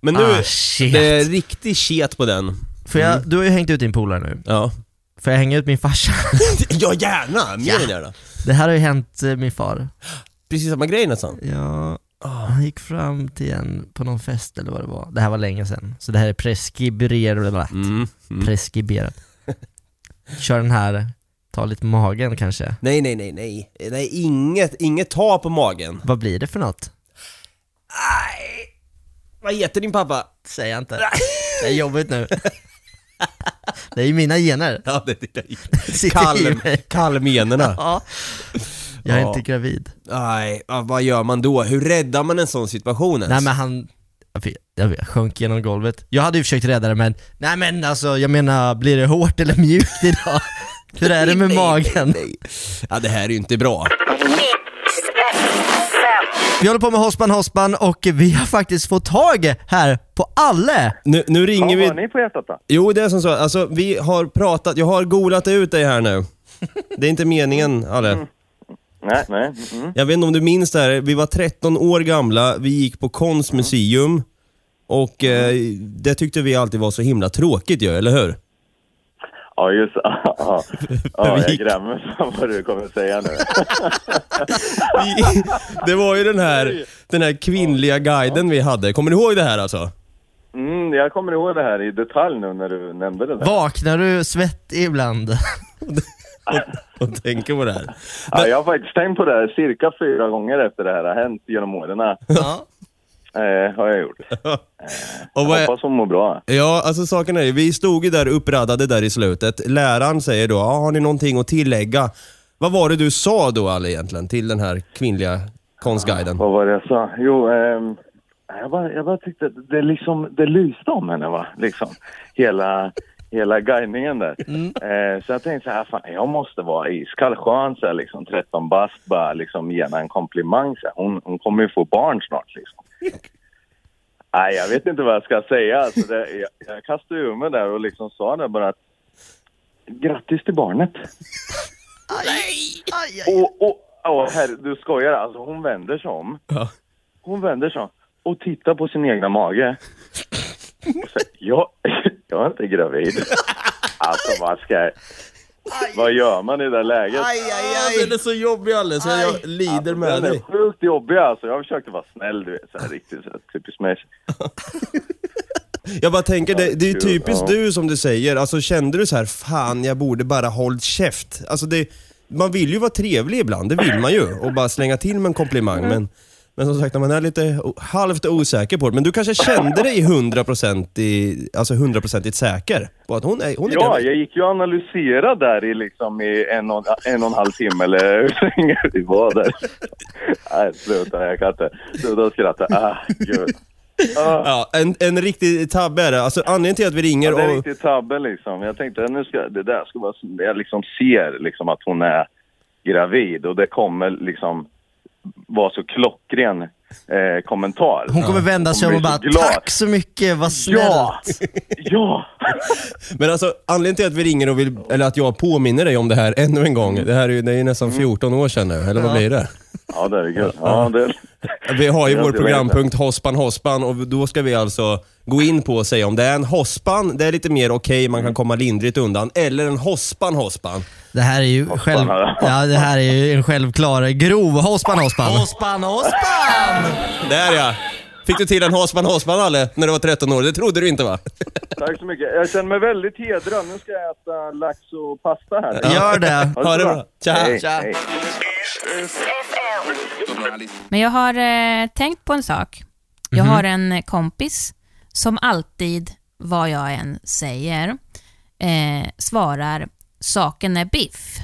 S2: Men nu,
S9: Ah, shit.
S2: det Mm. är riktig sket på den.
S9: Får jag, du har ju hängt ut din polare nu,
S2: Ja.
S9: får jag hänga ut min farsa?
S2: Ja, gärna! Mer än gärna.
S9: Det här har ju hänt eh, min far.
S2: Precis samma grej nästan.
S9: Ja,
S2: Ah.
S9: han gick fram till en på någon fest eller vad det var. Det här var länge sedan, så det här är preskriberat.
S2: Mm.
S9: preskriberat. Kör den här, ta lite magen kanske.
S2: Nej, nej, nej, nej. Nej, inget, inget ta på magen.
S9: Vad blir det för något?
S2: Vad heter din pappa?
S9: Säg inte. Det är jobbigt nu. Det är ju mina gener.
S2: Ja, det är
S9: Sitter i
S2: Kalm,
S9: mig.
S2: kalmgenerna.
S9: Ja. Jag är
S2: Ja.
S9: inte gravid.
S2: Nej, ja, vad gör man då? Hur räddar man en sån situation ens?
S9: Nej men han, jag, vet, jag, vet, jag sjönk genom golvet. Jag hade ju försökt rädda det men, nej men alltså jag menar, blir det hårt eller mjukt idag? Hur är det med
S2: Nej,
S9: magen?
S2: Ja, det här är ju inte bra.
S9: Vi håller på med Hospan Hospan och vi har faktiskt fått tag här på alla!
S2: Nu, nu
S10: Ja,
S2: ringer
S10: vad har
S2: vi...
S10: ni på hjärtat då?
S2: Jo, det är som så. Alltså, vi har pratat, jag har golat ut dig här nu. Det är inte meningen, Alle.
S10: Nej, nej. Mm.
S2: Jag vet inte om du minns det här, vi var 13 år gamla, vi gick på konstmuseum och eh, det tyckte vi alltid var så himla tråkigt ju, eller hur?
S10: Ja, just ja, ja. ja,
S2: Vi
S10: Jag
S2: gick-
S10: grämer mig för vad du kommer säga nu.
S2: Vi, det var ju den här, den här kvinnliga guiden vi hade, kommer du ihåg det här alltså?
S10: Mm, jag kommer ihåg det här i detalj nu när du nämnde det där.
S9: Vaknar du svettig ibland?
S2: Och tänker på det här.
S10: Ja, jag har faktiskt tänkt på det här cirka fyra gånger efter det här har hänt genom åren.
S9: Ja.
S10: Eh, har jag gjort.
S2: Och vad
S10: Jag
S2: är,
S10: hoppas hon mår bra.
S2: Ja, alltså saken är ju, vi stod ju där uppradade där i slutet. Läraren säger då, ah, har ni någonting att tillägga? Vad var det du sa då Ali egentligen till den här kvinnliga konstguiden?
S10: Vad var det jag sa? Jo, ehm, jag, bara, jag bara tyckte att det, liksom, det lyste om henne va, liksom. Hela, hela guidningen där. Eh, så jag tänkte så här, fan, jag måste vara iskall. Skön så här, liksom 13 bast, bara liksom ge henne en komplimang så här. Hon, hon kommer ju få barn snart liksom. Nej, jag vet inte vad jag ska säga. Alltså, det, jag, jag kastade ur mig där och liksom sa det bara att grattis till barnet. Och, och, och herre, du skojar alltså. Hon vänder sig om.
S2: Ja.
S10: Hon vänder sig om och tittar på sin egna mage. Och säger, jag, jag är inte gravid. Alltså vad ska jag... Vad gör man i det där läget? Alltså,
S2: Ah, den är så jobbig Ali, så jag lider med
S10: Den är
S2: dig.
S10: sjukt jobbig alltså. Jag försökte vara snäll du vet. Så här, riktigt så här, typiskt mig.
S2: Jag bara tänker, det, det är ju
S10: gud,
S2: typiskt
S10: ja.
S2: du som du säger, alltså kände du så här, fan jag borde bara hållit käft. Alltså det, man vill ju vara trevlig ibland, det vill man ju. Och bara slänga till med en komplimang. Men, men som sagt, när man är lite o- halvt osäker på det. Men du kanske kände dig 100% i, alltså 100% säker på att hon är, hon är
S10: Ja,
S2: gravid?
S10: jag gick ju och analyserade där i liksom i en och en, och en halv timme eller hur länge vi var där. Nej, sluta. Jag kan inte. Sluta skratta. Ah, gud. Ah.
S2: Ja, en, en riktig tabbe är det. Alltså anledningen till att vi ringer
S10: Ja, det är en
S2: och...
S10: riktig tabbe liksom. Jag tänkte nu ska, det där ska vara, jag liksom ser liksom att hon är gravid och det kommer liksom vara så klockren eh, kommentar.
S9: Hon kommer vända sig om och
S10: bli
S9: bara
S10: så glad.
S9: tack så mycket, vad
S10: Ja!
S9: snällt!
S10: Ja!
S2: Men alltså anledningen till att vi ringer och vill, eller att jag påminner dig om det här ännu en gång. Det här är ju, det är ju nästan 14 år sedan nu, eller vad blir det?
S10: Mm. Ja, det är gud. Ja, det,
S2: Vi har ju
S10: Ja,
S2: vår
S10: det vet
S2: programpunkt Hospan Hospan och då ska vi alltså gå in på och säga om det är en hospan, det är lite mer okej, man kan komma lindrigt undan, eller en hospan Hospan.
S9: Det här är ju, själv,
S10: här.
S9: ja, det här är ju en självklar grov Hospan Hospan. Hospan Hospan!
S2: Där ja! Fick du till en Hospan Hospan Alle, när du var 13 år? Det trodde du inte va?
S10: tack så mycket. Jag känner mig väldigt hedrad. Nu ska jag äta lax och pasta här.
S9: Gör det!
S2: Ha det bra! Tja!
S10: Hej,
S9: Tja.
S10: hej.
S6: Men jag har eh, tänkt på en sak. Jag
S9: Mhm.
S6: har en eh, kompis som alltid, vad jag än säger, eh, svarar “saken är biff”.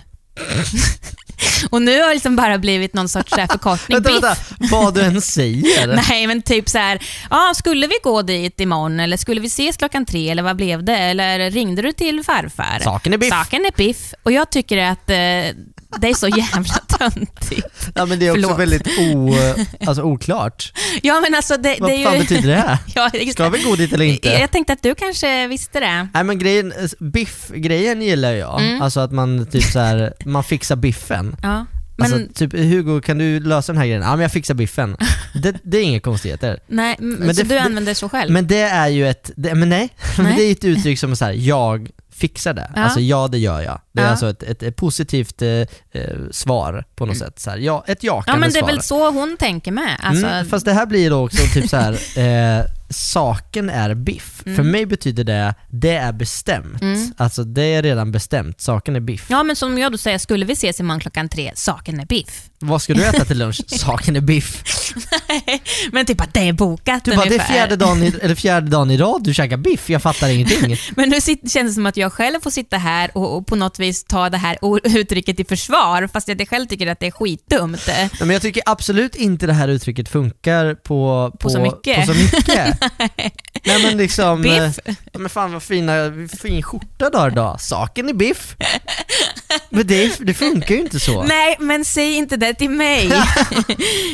S6: och nu har det liksom bara blivit någon sorts så här, förkortning.
S9: Vänta,
S6: biff.
S9: vänta, vad du än säger.
S6: Nej, men typ så här, ja, skulle vi gå dit imorgon eller skulle vi ses klockan tre eller vad blev det? Eller ringde du till farfar?
S9: Saken är biff.
S6: Saken är biff. Och jag tycker att eh, det är så jävla töntigt.
S9: Ja, men det är också
S6: Förlåt.
S9: väldigt o, alltså, oklart.
S6: Ja, men alltså det,
S9: Vad
S6: det är ju...
S9: fan betyder det?
S6: Ja, just
S9: Ska vi gå dit eller inte?
S6: Jag tänkte att du kanske visste det.
S9: Nej men grejen, biff-grejen gillar jag.
S6: Mm.
S9: Alltså att man typ så här, man fixar biffen.
S6: Ja. Men,
S9: Alltså typ Hugo, kan du lösa den här grejen? Ja men jag fixar biffen. Det, det är inga konstigheter.
S6: nej, men
S9: men
S6: så
S9: det-
S6: du
S9: det-
S6: använder så själv?
S9: Men det är ju ett, det, men nej, Men det är ju ett uttryck som är så här, jag fixar det.
S6: Ja.
S9: Alltså ja det gör jag. Det är
S6: Ja.
S9: alltså ett, ett, ett positivt eh, eh, svar på något sätt. Så här, ja, ett jakande
S6: ja, men det är
S9: svar.
S6: väl så hon tänker med. Alltså,
S9: Mm, fast det här blir då också typ så här. Eh, saken är biff. För
S6: Mm.
S9: mig betyder det, det är bestämt. Alltså det är redan bestämt, saken är biff.
S6: Ja, men som jag då säger, skulle vi ses imorgon klockan tre, saken är biff.
S9: Vad ska du äta till lunch? Saken är biff.
S6: Men typ att det är bokat
S9: Du bara, det är
S6: ungefär.
S9: fjärde dagen, i, eller fjärde dagen i rad du käkar biff, jag fattar ingenting.
S6: Men nu sit- känns det som att jag själv får sitta här och, och på något vis ta det här o- uttrycket i försvar, fast jag själv tycker att det är skitdumt.
S9: Nej, men jag tycker absolut inte det här uttrycket funkar på, på,
S6: så mycket.
S9: På så mycket. Nej men liksom,
S6: Biff.
S9: eh, ja, men fan vad fina, fin skjorta du har idag. Saken är biff. Men det, det funkar ju inte så.
S6: Nej, men säg inte det till mig.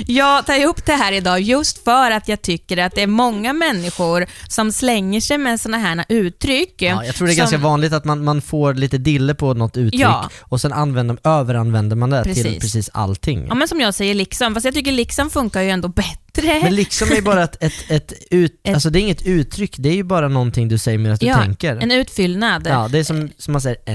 S6: jag tar upp det här idag just för att jag tycker att det är många människor som slänger sig med sådana här uttryck.
S9: Ja, jag tror det är ganska
S6: som-
S9: vanligt att man, man får lite dille på något uttryck
S6: Ja.
S9: och sen använder, överanvänder man det till
S6: Precis.
S9: precis allting.
S6: Ja, men som jag säger liksom, fast jag tycker liksom funkar ju ändå bättre.
S9: Men liksom är bara ett, ett, ett ut,
S6: Ett-
S9: alltså det är inget uttryck, det är ju bara någonting du säger medan du
S6: ja,
S9: tänker.
S6: en utfyllnad.
S9: Ja, det är som, som man säger eh,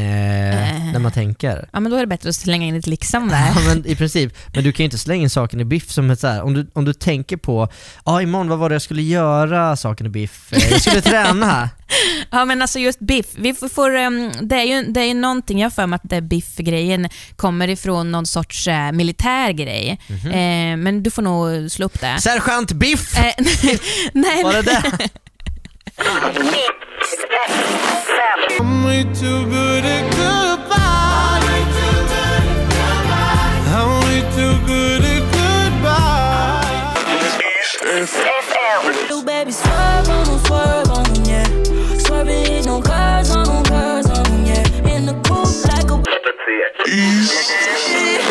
S9: när man tänker.
S6: Ja, men då är det bättre att slänga in ett liksom där.
S9: Ja, men i princip. Men du kan ju inte slänga in saken i biff som ett så här. om du, om du tänker på, ja ah, imorgon vad var det jag skulle göra, saken i biff, Eh, jag skulle träna.
S6: Ja men alltså just biff, vi får, får, ehm, det, är ju, det är ju någonting, jag har för mig att det biff-grejen kommer ifrån någon sorts eh, militär grej.
S9: Mhm.
S6: Eh, men du får nog slå upp det.
S9: Sergeant Biff!
S6: Eh, nej, nej,
S9: Var det det?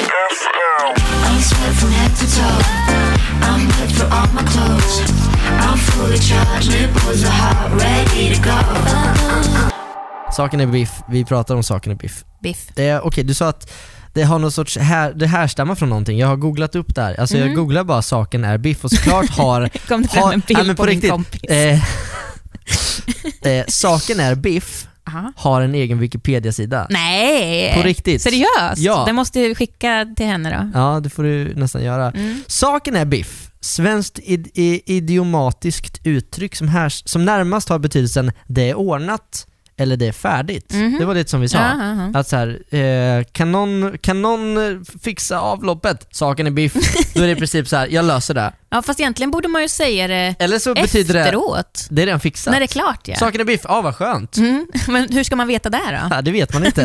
S1: I'm sweat from head to toe. I'm good for all my clothes. I'm fully charged, nipples are hot, ready to go.
S9: Saken är biff, vi pratar om saken är biff.
S6: biff.
S9: Eh, Okej, du sa att det har någon sorts här, det härstammar från någonting, jag har googlat upp det här. Alltså jag
S6: Mm.
S9: googlar bara saken är biff och såklart har...
S6: Kom det fram en bild
S9: ja, men
S6: på, din kompis?
S9: Eh, eh, saken är biff
S6: Aha.
S9: har en egen Wikipedia-sida.
S6: Nej!
S9: På riktigt.
S6: Seriöst?
S9: Ja.
S6: Det måste jag skicka till henne då.
S9: Ja, det får du nästan göra.
S6: Mm.
S9: Saken är biff. Svenskt id- i- idiomatiskt uttryck som, härs- som närmast har betydelsen det är ordnat eller det är färdigt.
S6: Mhm.
S9: Det var lite som vi sa.
S6: Ja, ja, ja.
S9: Att så här, eh, kan, någon, kan någon eh, fixa avloppet? Saken är biff. Då är det i princip så här, jag löser det.
S6: Ja fast egentligen borde man ju säga det
S9: Eller så betyder det,
S6: efteråt.
S9: det är redan fixat.
S6: När det är klart ja.
S9: Saken är biff, ja ah, vad skönt.
S6: Mm. Men hur ska man veta det då?
S9: Ja, det vet man inte.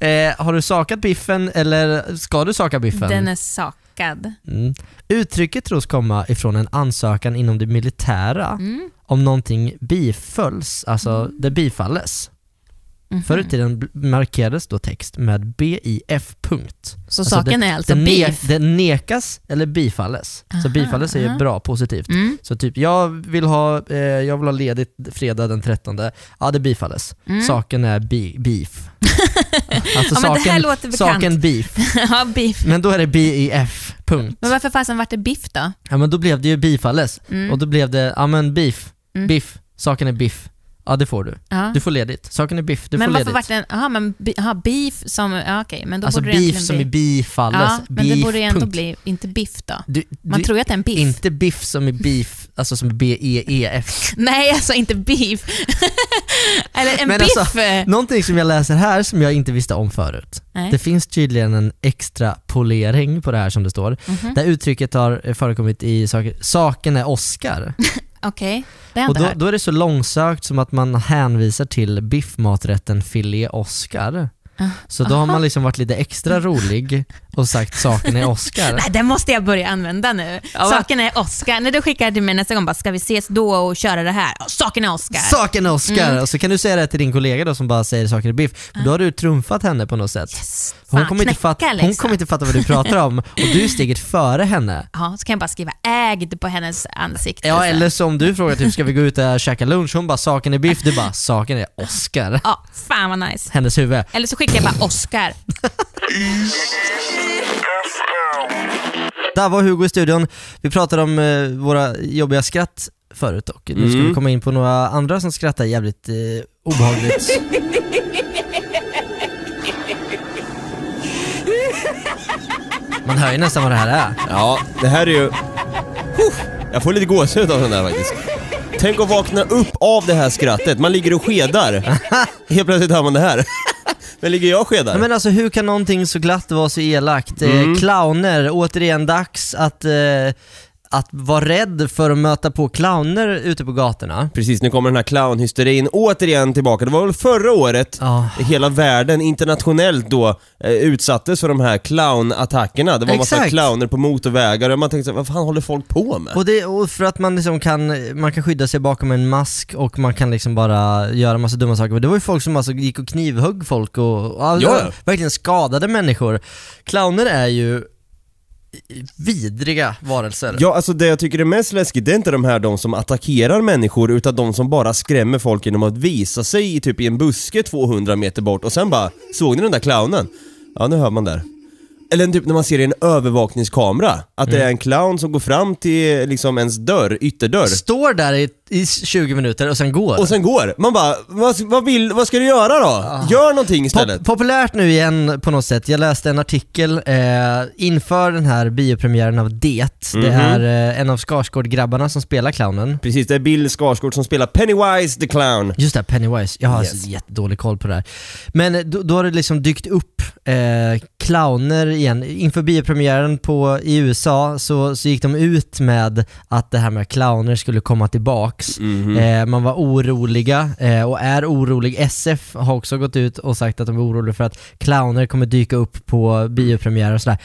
S9: eh, har du sakat biffen eller ska du saka biffen?
S6: Den är sakad.
S9: Mm. Uttrycket tros komma ifrån en ansökan inom det militära
S6: Mm.
S9: om någonting bifölls, alltså det bifalles.
S6: Mhm.
S9: Förr i tiden bl- markerades då text med BIF. punkt.
S6: Så saken
S9: det,
S6: är alltså
S9: det
S6: beef.
S9: Ne- det nekas eller bifalles. så bifalles är ju bra, positivt.
S6: Mm.
S9: Så typ, jag vill, ha, eh, jag vill ha ledigt fredag den 13. Ja, det bifalles. Saken är bi- beef. alltså
S6: Ja, men Mm. det här låter bekant.
S9: saken beef.
S6: ja, biff.
S9: Men då är det BIF. punkt.
S6: Men varför fasen vart det biff då?
S9: Ja men då blev det ju bifalles.
S6: Mm.
S9: Och då blev det, ja men beef, biff, saken är biff. Ja det får du.
S6: Ja.
S9: Du får ledigt. Saken är biff, du
S6: men
S9: får
S6: varför
S9: ledigt.
S6: vart det en, aha, men bi- aha, beef som, ja, okej, men då
S9: alltså
S6: borde det
S9: beef
S6: egentligen
S9: som
S6: bli,
S9: är bifalles.
S6: Ja, men
S9: beef,
S6: det borde ju ändå
S9: punkt.
S6: bli, inte biff då.
S9: Du,
S6: Man
S9: du,
S6: tror ju att det är en biff.
S9: Inte biff som är beef, alltså som B-E-E-F.
S6: Nej, alltså inte beef. Eller en
S9: Men
S6: biff.
S9: alltså, någonting som jag läser här som jag inte visste om förut.
S6: Nej.
S9: Det finns tydligen en extra polering på det här som det står.
S6: Mhm.
S9: Där uttrycket har eh, förekommit i saker, saken är Oscar.
S6: Okej, det har jag
S9: Och
S6: inte
S9: då,
S6: hört.
S9: då är det så långsökt som att man hänvisar till biffmaträtten filé Oscar.
S6: Ah.
S9: Så då har man liksom varit lite extra rolig och sagt saken är Oscar.
S6: Nej, det måste jag börja använda nu.
S9: va?
S6: Saken är Oscar. När du skickar till mig nästa gång, bara, ska vi ses då och köra det här? Ja, Saken är Oscar. Mm.
S9: Saken är Oscar! Och så kan du säga det till din kollega då som bara säger saker är biff. Då har du trumfat henne på något sätt. hon,
S6: Ah. Fan,
S9: kommer inte
S6: knäcka,
S9: fatta, hon
S6: liksom.
S9: kommer inte fatta vad du pratar om och du är steget före henne.
S6: Ja, så kan jag bara skriva ägd på hennes ansikte.
S9: Ja
S6: så.
S9: eller som du frågar typ, ska vi gå ut och käka lunch? Hon bara saken är biff, du bara saken är Oscar.
S6: ja, fan vad nice.
S9: Hennes huvud.
S6: Eller så skickar jag bara Oscar.
S9: Oh Där var Hugo i studion. Vi pratade om eh, våra jobbiga skratt förut och nu ska vi komma in på några andra som skrattar jävligt eh, obehagligt. Man hör ju nästan vad det här är.
S2: Ja, det här är ju... Huh! Jag får lite gåshud av den där faktiskt. Tänk att vakna upp av det här skrattet. Man ligger och skedar. Helt plötsligt hör man det här. Där ligger jag skedar.
S9: Nej, men alltså hur kan någonting så glatt vara så elakt? Eh, clowner, återigen dags att, eh, att vara rädd för att möta på clowner ute på gatorna.
S2: Precis, nu kommer den här clownhysterin återigen tillbaka. Det var väl förra året
S9: Ja.
S2: hela världen internationellt då eh, utsattes för de här clownattackerna. Det var massa
S9: Exakt.
S2: clowner på motorvägar och man tänkte så här, vad fan håller folk på med?
S9: Och, det, och för att man liksom kan, man kan skydda sig bakom en mask och man kan liksom bara göra massa dumma saker. Det var ju folk som alltså gick och knivhögg folk och, och
S2: Ja, ja.
S9: verkligen skadade människor. Clowner är ju vidriga varelser.
S2: Ja, alltså det jag tycker är mest läskigt, det är inte de här de som attackerar människor, utan de som bara skrämmer folk genom att visa sig i typ i en buske 200 meter bort och sen bara, såg ni den där clownen? Ja, nu hör man där. Eller typ när man ser i en övervakningskamera, att det är en clown som går fram till liksom ens dörr, ytterdörr.
S9: Står där i, i 20 minuter och sen går.
S2: Och sen går. Man bara, vad, vad, vill, vad ska du göra då? Gör någonting istället.
S9: Pop- populärt nu igen på något sätt. Jag läste en artikel eh, inför den här biopremiären av Det. Det
S2: Mhm.
S9: är eh, en av Skarsgård-grabbarna som spelar clownen.
S2: Precis, det är Bill Skarsgård som spelar Pennywise the Clown.
S9: Just det, Pennywise. Jag har alltså jättedålig koll på det här. Men då, då har det liksom dykt upp eh, clowner igen. Inför biopremiären på, i USA så, så gick de ut med att det här med clowner skulle komma tillbaks.
S2: Mhm.
S9: Eh, man var oroliga eh, och är orolig. SF har också gått ut och sagt att de är oroliga för att clowner kommer dyka upp på biopremiärer och sådär.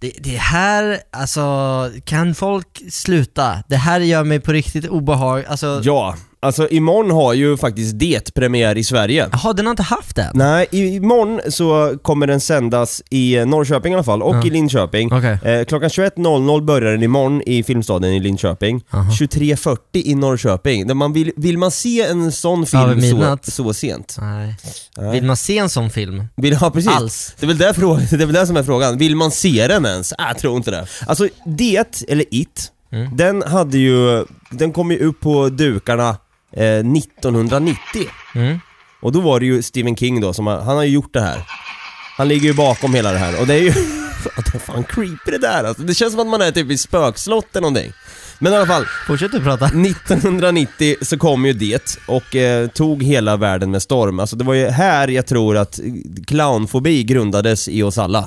S9: Det, det här, alltså kan folk sluta? Det här gör mig på riktigt obehag. Alltså,
S2: Ja, alltså imorgon har ju faktiskt det premiär i Sverige.
S9: jaha, den har inte haft det?
S2: Nej, i- imorgon så kommer den sändas i eh, Norrköping i alla fall, och
S9: Ja.
S2: i Linköping.
S9: Okej.
S2: Eh, klockan 21.00 börjar den imorgon i Filmstaden i Linköping. 23.40 i Norrköping. Där man vill, vill man se en sån film
S9: Över
S2: så,
S9: midnatt.
S2: så sent?
S9: Nej. Vill man se en sån film?
S2: Vill, ja, precis.
S9: Alls.
S2: Det är, väl där frågan, det är väl det som är frågan. Vill man se den ens? Äh, Jag tror inte det. Alltså, Det, eller It,
S9: Mm.
S2: den hade ju... Den kom ju upp på dukarna eh, 1990.
S9: Mm.
S2: Och då var det ju Stephen King då som har, han har ju gjort det här. Han ligger ju bakom hela det här och det är ju... Fan, det är fan creepy det där alltså. Det känns som att man är typ i spökslott eller någonting. Men i alla fall,
S9: Fortsätt du prata.
S2: 1990 så kom ju det och eh, tog hela världen med storm. Alltså det var ju här jag tror att clownfobi grundades i oss alla.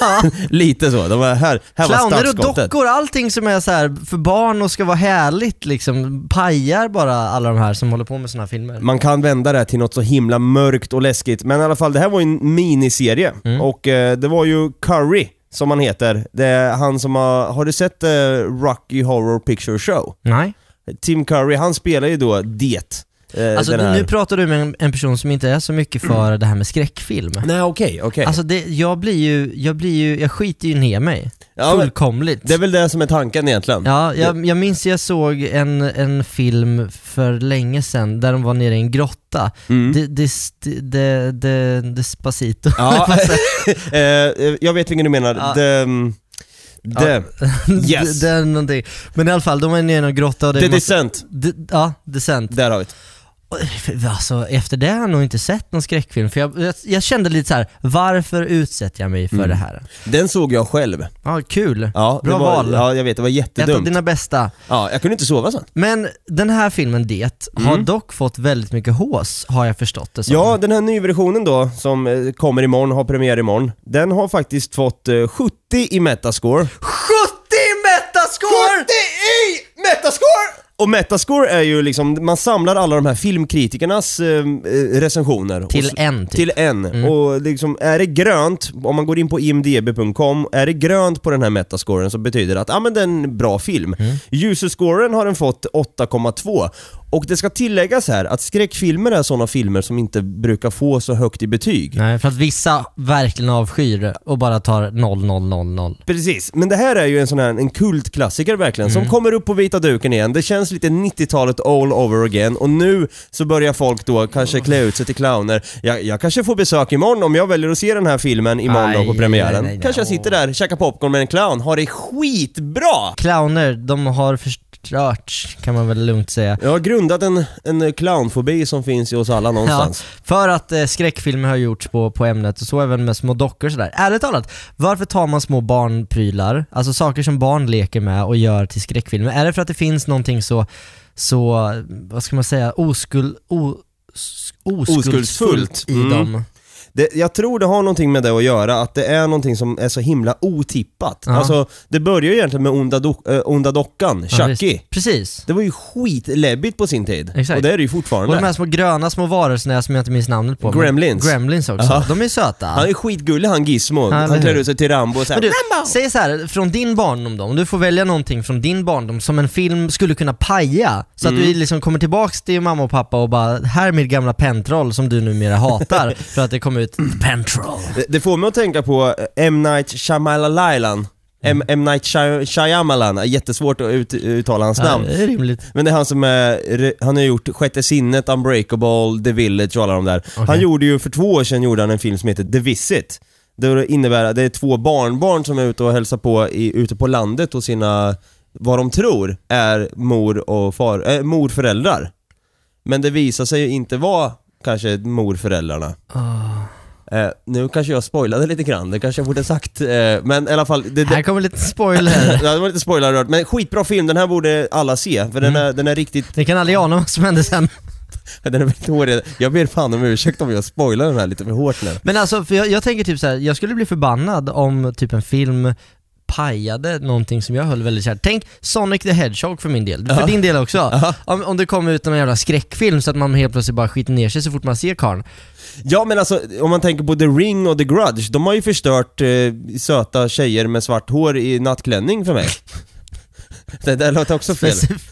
S2: Lite så, det var här, här var
S9: Clowner och
S2: startskottet.
S9: dockor, allting som är så här för barn och ska vara härligt liksom, pajar bara alla de här som håller på med såna här filmer.
S2: Man kan vända det här till något så himla mörkt och läskigt, men i alla fall det här var ju en miniserie
S9: Mm.
S2: och eh, det var ju Curry som han heter. Det är han som har, har du sett eh, Rocky Horror Picture Show?
S9: Nej.
S2: Tim Curry, han spelar ju då Det. Eh,
S9: Alltså
S2: den här. Mm.
S9: nu pratar du med en, en person som inte är så mycket för det här med skräckfilm.
S2: Nej okej, okej.
S9: Alltså det, jag blir ju, jag blir ju, jag skiter ju ner mig.
S2: Ja, men-
S9: Fullkomligt.
S2: Det är väl det som är tanken egentligen.
S9: Ja, jag, jag minns jag såg en, en film för länge sedan där de var nere i en grotta.
S2: Mm.
S9: Det, det, det, det, det, Despacito.
S2: Ja, eh, eh, jag vet vilken du menar.
S9: Ja.
S2: Det, mm, det, Yes.
S9: det, det är någonting. Men i alla fall, de var nere i någon grotta och det,
S2: det är
S9: är massa-
S2: decent.
S9: det- Ja, decent.
S2: Där har vi det.
S9: Och, för- Alltså, efter det har jag nog inte sett någon skräckfilm. För jag, jag, jag kände lite så här: varför utsätter jag mig för det här?
S2: Den såg jag själv.
S9: Ja, kul.
S2: Mm. Ja,
S9: Bra
S2: det var,
S9: val.
S2: Ja, jag vet. Det var
S9: Ett av
S2: jättedumt.
S9: dina bästa.
S2: Ja, jag kunde inte sova sen.
S9: Men den här filmen Det har dock fått väldigt mycket hås, har jag förstått det som.
S2: Mm. Ja, den här nyversionen då, som eh, kommer imorgon, har premiär imorgon. Den har faktiskt fått eh, 70 i Metascore.
S9: 70 metascore!
S2: i Metascore! Och Metascore är ju liksom, man samlar alla de här filmkritikernas eh, eh, recensioner. Och
S9: Till
S2: s-
S9: en typ.
S2: Till en. Och liksom, är det grönt, om man går in på imdb.com, är det grönt på den här metascoren så betyder det att, ja ah, men det är en bra film.
S9: Mm.
S2: User-scoren har den fått 8,2. Och det ska tilläggas här att skräckfilmer är sådana filmer som inte brukar få så högt i betyg.
S9: Nej, för att vissa verkligen avskyr och bara tar 0000.
S2: Precis, men det här är ju en sån här en kultklassiker verkligen som
S9: Mm.
S2: kommer upp på vita duken igen. Det känns lite 90-talet all over again och nu så börjar folk då kanske klä ut sig till clowner. Jag, jag kanske får besök imorgon om jag väljer att se den här filmen imorgon då
S9: Aj,
S2: på premiären.
S9: nej, nej, nej.
S2: Kanske jag sitter där, käkar popcorn med en clown, har det skitbra!
S9: Clowner, de har förstörts kan man väl lugnt säga.
S2: Jag har grundat en, en clownfobi som finns i oss alla någonstans.
S9: Ja, för att eh, skräckfilmer har gjorts på, på ämnet och så även med små dockor och sådär. Ärligt talat, varför tar man små barnprylar, alltså saker som barn leker med och gör till skräckfilmer? Är det för att det finns någonting så, så vad ska man säga, oskuld, os, oskuldsfullt i
S2: Mm.
S9: dem?
S2: det, jag tror det har någonting med det att göra, att det är någonting som är så himla otippat.
S9: Ja.
S2: Alltså, det börjar ju egentligen med Onda, do, eh, onda Dockan,
S9: Ja,
S2: Chucky.
S9: visst. Precis.
S2: det var ju skitläbbigt på sin tid.
S9: Exakt.
S2: Och det är det ju
S9: Och de
S2: fortfarande.
S9: här små gröna små varelserna som jag inte minns namnet på. men-
S2: Gremlins.
S9: Gremlins också.
S2: Ja.
S9: De är söta.
S2: Han är skitgullig han Gizmo.
S9: Ja, eller
S2: Han klär
S9: hur?
S2: ut sig till Rambo och så här,
S9: Men du,
S2: Rambo!
S9: säg så här, från din barndom då, om du får välja någonting från din barndom som en film skulle kunna paja, så
S2: Mm.
S9: att du liksom kommer tillbaks till mamma och pappa och bara “Här är mitt gamla pentroll som du numera hatar” för att det kom ut pentroll.
S2: Det- Det får mig att tänka på eh, M. Night Shyamalan. M. M. Night Shy- Shyamalan, jättesvårt att ut, uttala hans
S9: Ja,
S2: namn.
S9: det är rimligt.
S2: Men det är han som är, re- han har gjort Sjätte sinnet, Unbreakable, The Village och alla de där. Han gjorde ju, för två år sedan gjorde han en film som heter The Visit. Det innebär att det är två barnbarn som är ute och hälsar på i, ute på landet och sina, vad de tror är mor och far, äh, morföräldrar. Men det visar sig ju inte vara kanske morföräldrarna. Eh, nu kanske jag spoilade lite grann, det kanske jag borde sagt. Eh, men i alla fall, det, det,
S9: Här kommer lite spoiler.
S2: Ja, det var lite spoilerrört, men skitbra film, den här borde alla se, för den, är, den är riktigt,
S9: Ni kan aldrig ana vad som hände sen.
S2: den är väldigt hård. Jag ber fan om ursäkt om jag spoilar den här lite för hårt nu.
S9: Men alltså, för jag, jag tänker typ så här, jag skulle bli förbannad om typ en film pajade någonting som jag höll väldigt kärt. Tänk Sonic the Hedgehog för min del, för din del också. Om, om det kom ut någon jävla skräckfilm så att man helt plötsligt bara skiter ner sig så fort man ser karln.
S2: Ja men alltså, om man tänker på The Ring och The Grudge, de har ju förstört eh, söta tjejer med svart hår i nattklänning för mig. det där låter också fel.
S9: Specifikt.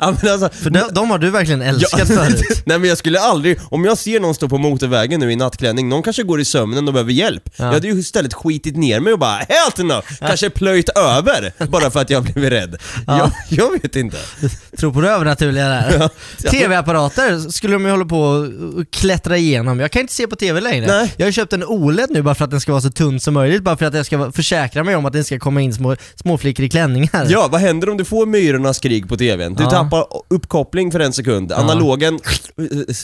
S2: Ja, men alltså,
S9: För de, de har du verkligen älskat
S2: Ja.
S9: förut.
S2: Nej men jag skulle aldrig, om jag ser någon stå på motorvägen nu i nattklänning, någon kanske går i sömnen och behöver hjälp. Jag hade ju istället skitit ner mig och bara helt enough, kanske plöjt över bara för att jag blev rädd. Jag, jag vet inte.
S9: Tror på det övernaturliga där. TV-apparater skulle de ju hålla på och och klättra igenom. Jag kan inte se på TV längre.
S2: Nej.
S9: Jag har ju köpt en OLED nu bara för att den ska vara så tunn som möjligt, bara för att jag ska vara- försäkra mig om att det inte ska komma in små, små flickor i klänningar.
S2: Ja, vad händer om du får myrornas krig på TVn? Du
S9: Ja.
S2: tappar uppkoppling för en sekund, analogen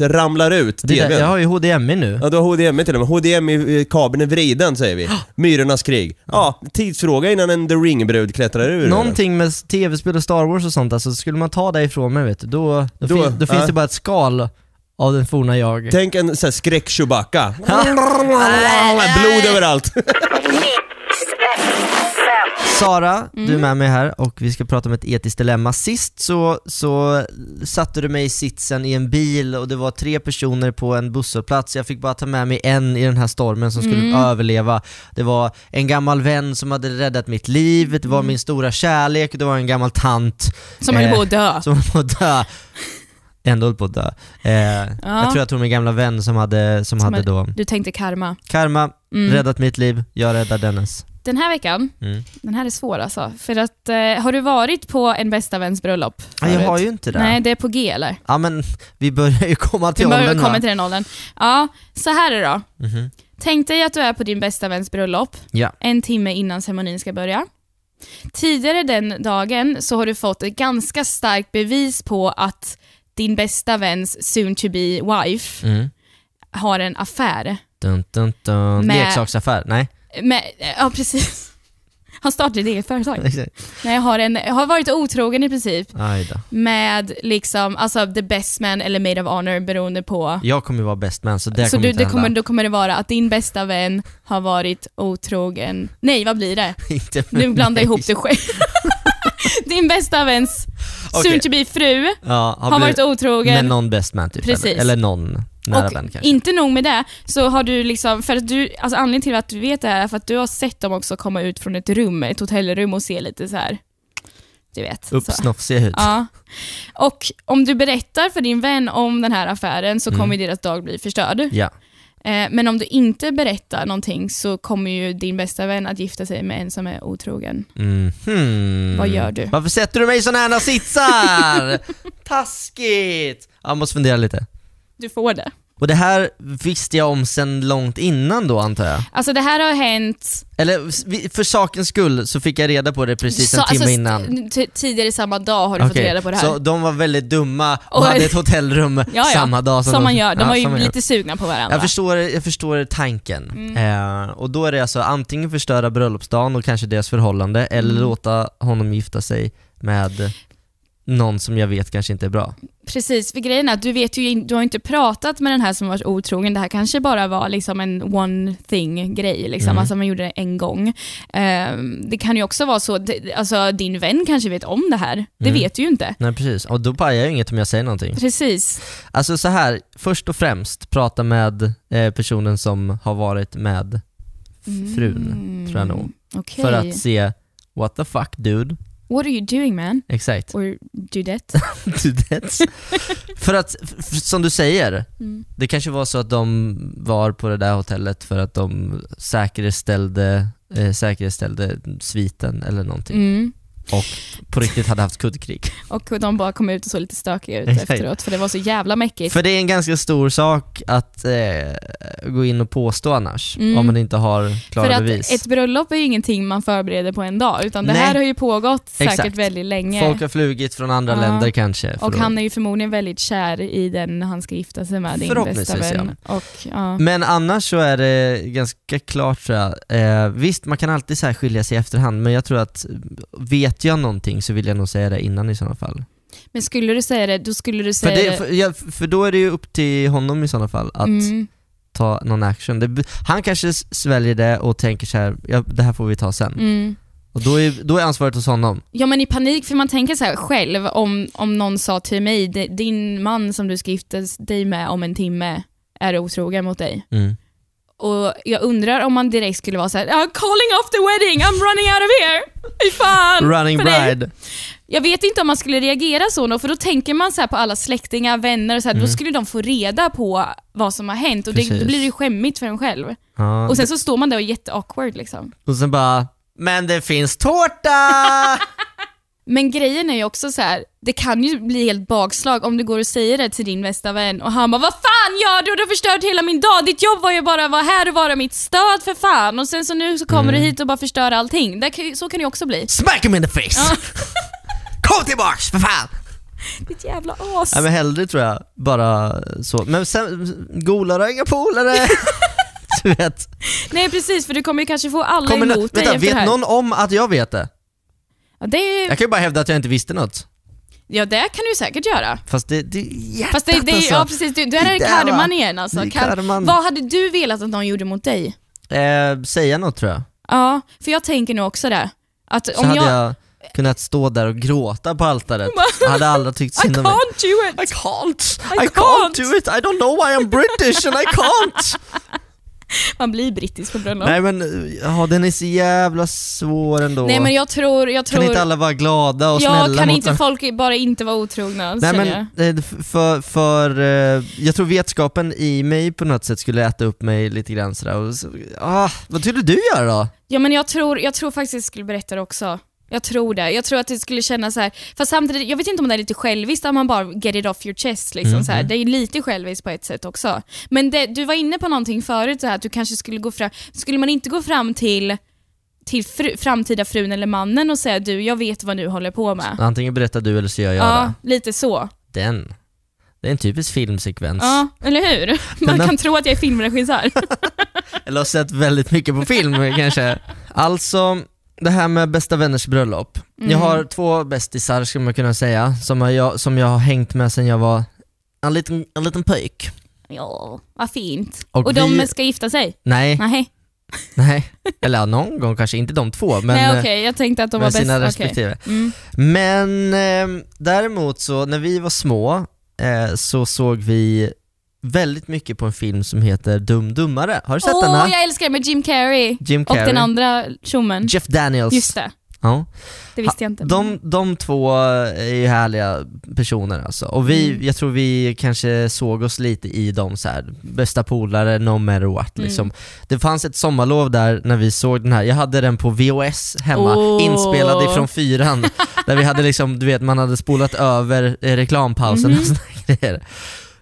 S2: ramlar ut
S9: Det där,
S2: TVn.
S9: jag har ju HDMI nu.
S2: Ja, du har HDMI till och med. HDMI-kabeln är vriden säger vi. Myrornas krig. Ja, tidsfråga innan en The Ring-brud klättrar ur.
S9: Någonting med s- tv-spel och Star Wars och sånt, alltså skulle man ta det ifrån mig vet du, då,
S2: Då,
S9: då, fin, då finns
S2: ja.
S9: det bara ett skal av den forna jag.
S2: Tänk en sån här skräck-Chewbacca.
S9: Ja.
S2: Blod överallt.
S9: Sara, du
S6: Mm.
S9: är med mig här och vi ska prata om ett etiskt dilemma. Sist så, så satte du mig i sitsen i en bil och det var tre personer på en busshållplats. Jag fick bara ta med mig en i den här stormen som
S6: Mm.
S9: skulle överleva. Det var en gammal vän som hade räddat mitt liv, det var min stora kärlek, det var en gammal tant
S6: Mm. Som höll
S9: Eh,
S6: på att dö.
S9: som höll på att dö. Ändå höll på att dö. Eh, Jag tror jag tog min gamla vän som hade, som hade då,
S6: Du tänkte karma.
S9: karma,
S6: Mm.
S9: räddat mitt liv, jag räddar dennes.
S6: Den här veckan,
S9: Mm.
S6: den här är svår alltså. För att, eh, har du varit på en bästa väns bröllop?
S9: Nej, jag
S6: förut?
S9: har ju inte det.
S6: Nej, det är på G eller?
S9: Ja men vi börjar ju komma till
S6: Du börjar
S9: åldern va?
S6: komma till den åldern. Ja, så här är det då.
S9: Mhm.
S6: Tänk dig att du är på din bästa väns bröllop
S9: Ja.
S6: en timme innan ceremonin ska börja. Tidigare den dagen så har du fått ett ganska starkt bevis på att din bästa väns soon to be wife
S9: Mm.
S6: har en affär.
S9: Dun, dun, dun.
S6: Med-
S9: Leksaksaffär? Nej.
S6: Men, ja, precis. Han startade ett eget företag. Nej, jag har, en, jag har varit otrogen i princip
S9: Aj då.
S6: med liksom, alltså the best man eller maid of honor beroende på
S9: Jag kommer ju vara best man så det
S6: så
S9: kommer
S6: du,
S9: inte
S6: det
S9: hända.
S6: kommer, då kommer det vara att din bästa vän har varit otrogen. Nej, vad blir det?
S9: inte för
S6: Nu blandar jag
S9: mig.
S6: ihop det själv. din bästa väns
S9: Okej.
S6: soon to be fru
S9: Ja, har,
S6: har
S9: blivit-
S6: varit otrogen.
S9: Med någon best man typ.
S6: Precis.
S9: Eller, eller någon nära
S6: och
S9: vän kanske.
S6: inte nog med det, så har du liksom, för att du, alltså anledningen till att du vet det här är för att du har sett dem också komma ut från ett rum, ett hotellrum och se lite så här. du vet. så.
S9: Uppsnofsig ut.
S6: Ja. Och om du berättar för din vän om den här affären
S3: Mm.
S6: så kommer ju deras dag bli förstörd.
S9: Ja.
S6: Eh, Men om du inte berättar någonting så kommer ju din bästa vän att gifta sig med en som är otrogen.
S9: Mm. Hmm.
S6: Vad gör du?
S9: Varför sätter du mig i såna här sitsar? Taskigt! Jag måste fundera lite.
S6: Du får det.
S9: Och det här visste jag om sen långt innan då antar jag?
S6: Alltså det här har hänt
S9: Eller s- vi- för sakens skull så fick jag reda på det precis en
S6: så-
S9: timme
S6: alltså,
S9: innan.
S6: t- tidigare samma dag har du fått
S9: Okej,
S6: reda på det här.
S9: Så de var väldigt dumma och
S6: Och-
S9: hade ett hotellrum samma dag
S6: som,
S9: de-
S6: man gör. De
S9: alltså, Ja,
S6: var
S9: som
S6: ju
S9: man
S6: lite sugna på varandra.
S9: Jag förstår, jag förstår tanken. Eh, och då är det alltså antingen förstöra bröllopsdagen och kanske deras förhållande, eller låta honom gifta sig med någon som jag vet kanske inte är bra.
S11: Precis, för grejen är att du vet ju in- du har ju inte pratat med den här som varit otrogen. Det här kanske bara var liksom en one thing-grej,
S9: Mm.
S11: liksom. alltså man gjorde det en gång. Ehm, det kan ju också vara så, det- alltså din vän kanske vet om det här. Det vet du ju inte.
S9: Nej precis, och då pajar jag inget om jag säger någonting.
S11: Precis.
S9: Alltså så här, först och främst, prata med eh, personen som har varit med frun, tror jag nog.
S11: Okej.
S9: För att se, what the fuck dude?
S11: What are you doing man?
S9: Exakt.
S11: Or do that?
S9: to that. för att, f- f- som du säger,
S11: Mm.
S9: det kanske var så att de var på det där hotellet för att de säkerställde, eh, säkerställde sviten eller någonting.
S11: Mm.
S9: Och på riktigt hade haft kuddkrig.
S11: Och de bara kom ut och såg lite stökiga ut
S9: Exakt.
S11: efteråt, för det var så jävla mäckigt.
S9: För det är en ganska stor sak att eh, gå in och påstå annars,
S11: Mm.
S9: om man inte har klara
S11: För att
S9: bevis.
S11: ett bröllop är ju ingenting man förbereder på en dag, utan det
S9: Nej.
S11: här har ju pågått säkert
S9: Exakt.
S11: väldigt länge.
S9: Folk har flugit från andra
S11: Ja.
S9: länder kanske. för
S11: och
S9: att-
S11: han är ju förmodligen väldigt kär i den han ska gifta sig med, din bästa
S9: Förhoppningsvis,
S11: vän. Och, ja.
S9: Men annars så är det ganska klart tror jag. Eh, visst, man kan alltid så här skilja sig i efterhand, men jag tror att vet jag någonting så vill jag nog säga det innan i sådana fall.
S11: Men skulle du säga det, då skulle du
S9: För,
S11: säga
S9: det, för, ja, för då är det ju upp till honom i sådana fall att
S11: Mm,
S9: ta någon action. Det, han kanske s- sväljer det och tänker så här, ja, det här får vi ta sen.
S11: mm.
S9: Och då är, då är ansvaret hos honom.
S11: Ja men i panik, för man tänker så här själv, om, om någon sa till mig, "D- din man som du ska gifta dig med om en timme är otrogen mot dig.
S9: Mm.
S11: Och jag undrar om man direkt skulle vara så här: I'm calling off the wedding, I'm running out of here! Fy fan!
S9: Running
S11: för dig."
S9: bride.
S11: Jag vet inte om man skulle reagera så då, för då tänker man så här på alla släktingar, vänner och så här, då skulle de få reda på vad som har hänt och det,
S9: Mm. Precis.
S11: då blir det ju skämmigt för en själv.
S9: Ja.
S11: Och sen så står man där och är jätteawkward liksom.
S9: och sen bara, men det finns tårta!
S11: Men grejen är ju också så här, det kan ju bli helt bakslag om du går och säger det till din bästa vän och han bara Vad fan gör du? Du har förstört hela min dag! Ditt jobb var ju bara att vara här och vara mitt stöd för fan och sen så nu så kommer
S9: Mm.
S11: du hit och bara förstör allting. Det kan, ju- så kan det ju också bli.
S9: Smack him in the face! Kom tillbaks för fan!
S11: Ditt jävla as!
S9: Nej men hellre tror jag, bara så. Men sen, golare har inga polare! du vet.
S11: Nej precis, för du kommer ju kanske få alla
S9: Kommer nå-
S11: emot dig
S9: vänta,
S11: efter det
S9: vet
S11: här.
S9: någon om att jag vet det?
S11: Ja, det är ju
S9: Jag kan ju bara hävda att jag inte visste något.
S11: Ja det kan du ju säkert göra.
S9: Fast det, det är hjärtat
S11: Fast det, det,
S9: alltså.
S11: ja, precis, det, där är
S9: Det där, va?
S11: karman igen alltså.
S9: Det är
S11: Kar-
S9: karman.
S11: Vad hade du velat att någon gjorde mot dig?
S9: eh, säga något tror jag.
S11: Ja, för jag tänker nog också det. Att
S9: Så
S11: om
S9: hade
S11: jag...
S9: jag... kunnat stå där och gråta på altaret. hade alla tyckt
S11: I
S9: synd om mig.
S11: can't do it!
S9: I can't!
S11: I
S9: I can't
S11: can't.
S9: do it! I don't know why I'm British and I can't!
S11: Man blir brittisk på bröllop. Nej,
S9: Nej men, ja, den är så jävla svår ändå.
S11: men jag tror... Jag tror
S9: Kan inte alla vara glada och
S11: ja,
S9: snälla
S11: kan
S9: mot
S11: inte
S9: varandra?
S11: folk bara inte vara otrogna?
S9: Nej
S11: känner
S9: men,
S11: jag.
S9: eh, f- för, för eh, jag tror vetskapen i mig på något sätt skulle äta upp mig lite grann sådär. Och så, ah, vad skulle du göra då?
S11: Ja men jag tror, jag tror faktiskt jag skulle berätta det också. Jag tror det. Jag tror att det skulle kännas så här. fast samtidigt, jag vet inte om det är lite själviskt om man bara get it off your chest liksom så
S9: Mhm.
S11: här. Det är ju lite själviskt på ett sätt också. Men det, du var inne på någonting förut så här, att du kanske skulle gå fram, skulle man inte gå fram till till fru, framtida frun eller mannen och säga du, jag vet vad du håller på med.
S9: Antingen berättar du eller så gör jag
S11: Ja,
S9: det.
S11: lite så.
S9: Den. Det är en typisk filmsekvens.
S11: Ja, eller hur? Man
S9: Men-
S11: kan tro att jag är filmregissör.
S9: Eller har sett väldigt mycket på film kanske. Alltså, det här med bästa vänners bröllop. Jag har
S11: Mm.
S9: två bästisar skulle man kunna säga, som jag, som jag har hängt med sedan jag var en liten, en liten pojk.
S11: ja, vad fint.
S9: Och
S11: Och, de
S9: vi-
S11: ska gifta sig?
S9: Nej,
S11: Nej,
S9: nej. Eller ja, någon gång kanske, inte de två men
S11: Nej okej,
S9: eh,
S11: jag tänkte att de var
S9: med
S11: bäst.
S9: sina
S11: okej.
S9: respektive.
S11: Mm.
S9: Men eh, däremot så, när vi var små eh, så såg vi väldigt mycket på en film som heter Dum Dummare. Har du sett den?
S11: Åh,
S9: här?
S11: jag älskar det med Jim Carrey.
S9: Jim
S11: Och
S9: Carrey,
S11: den andra tjommen.
S9: Jeff Daniels.
S11: Just det,
S9: Ja.
S11: det visste jag inte.
S9: De, de två är ju härliga personer alltså. Och vi, jag tror vi kanske såg oss lite i dem så här. bästa polare, no matter what liksom. Det fanns ett sommarlov där när vi såg den här, jag hade den på VHS hemma,
S11: Åh.
S9: inspelad ifrån fyran. där vi hade liksom, du vet man hade spolat över eh, reklampausen och sådana grejer.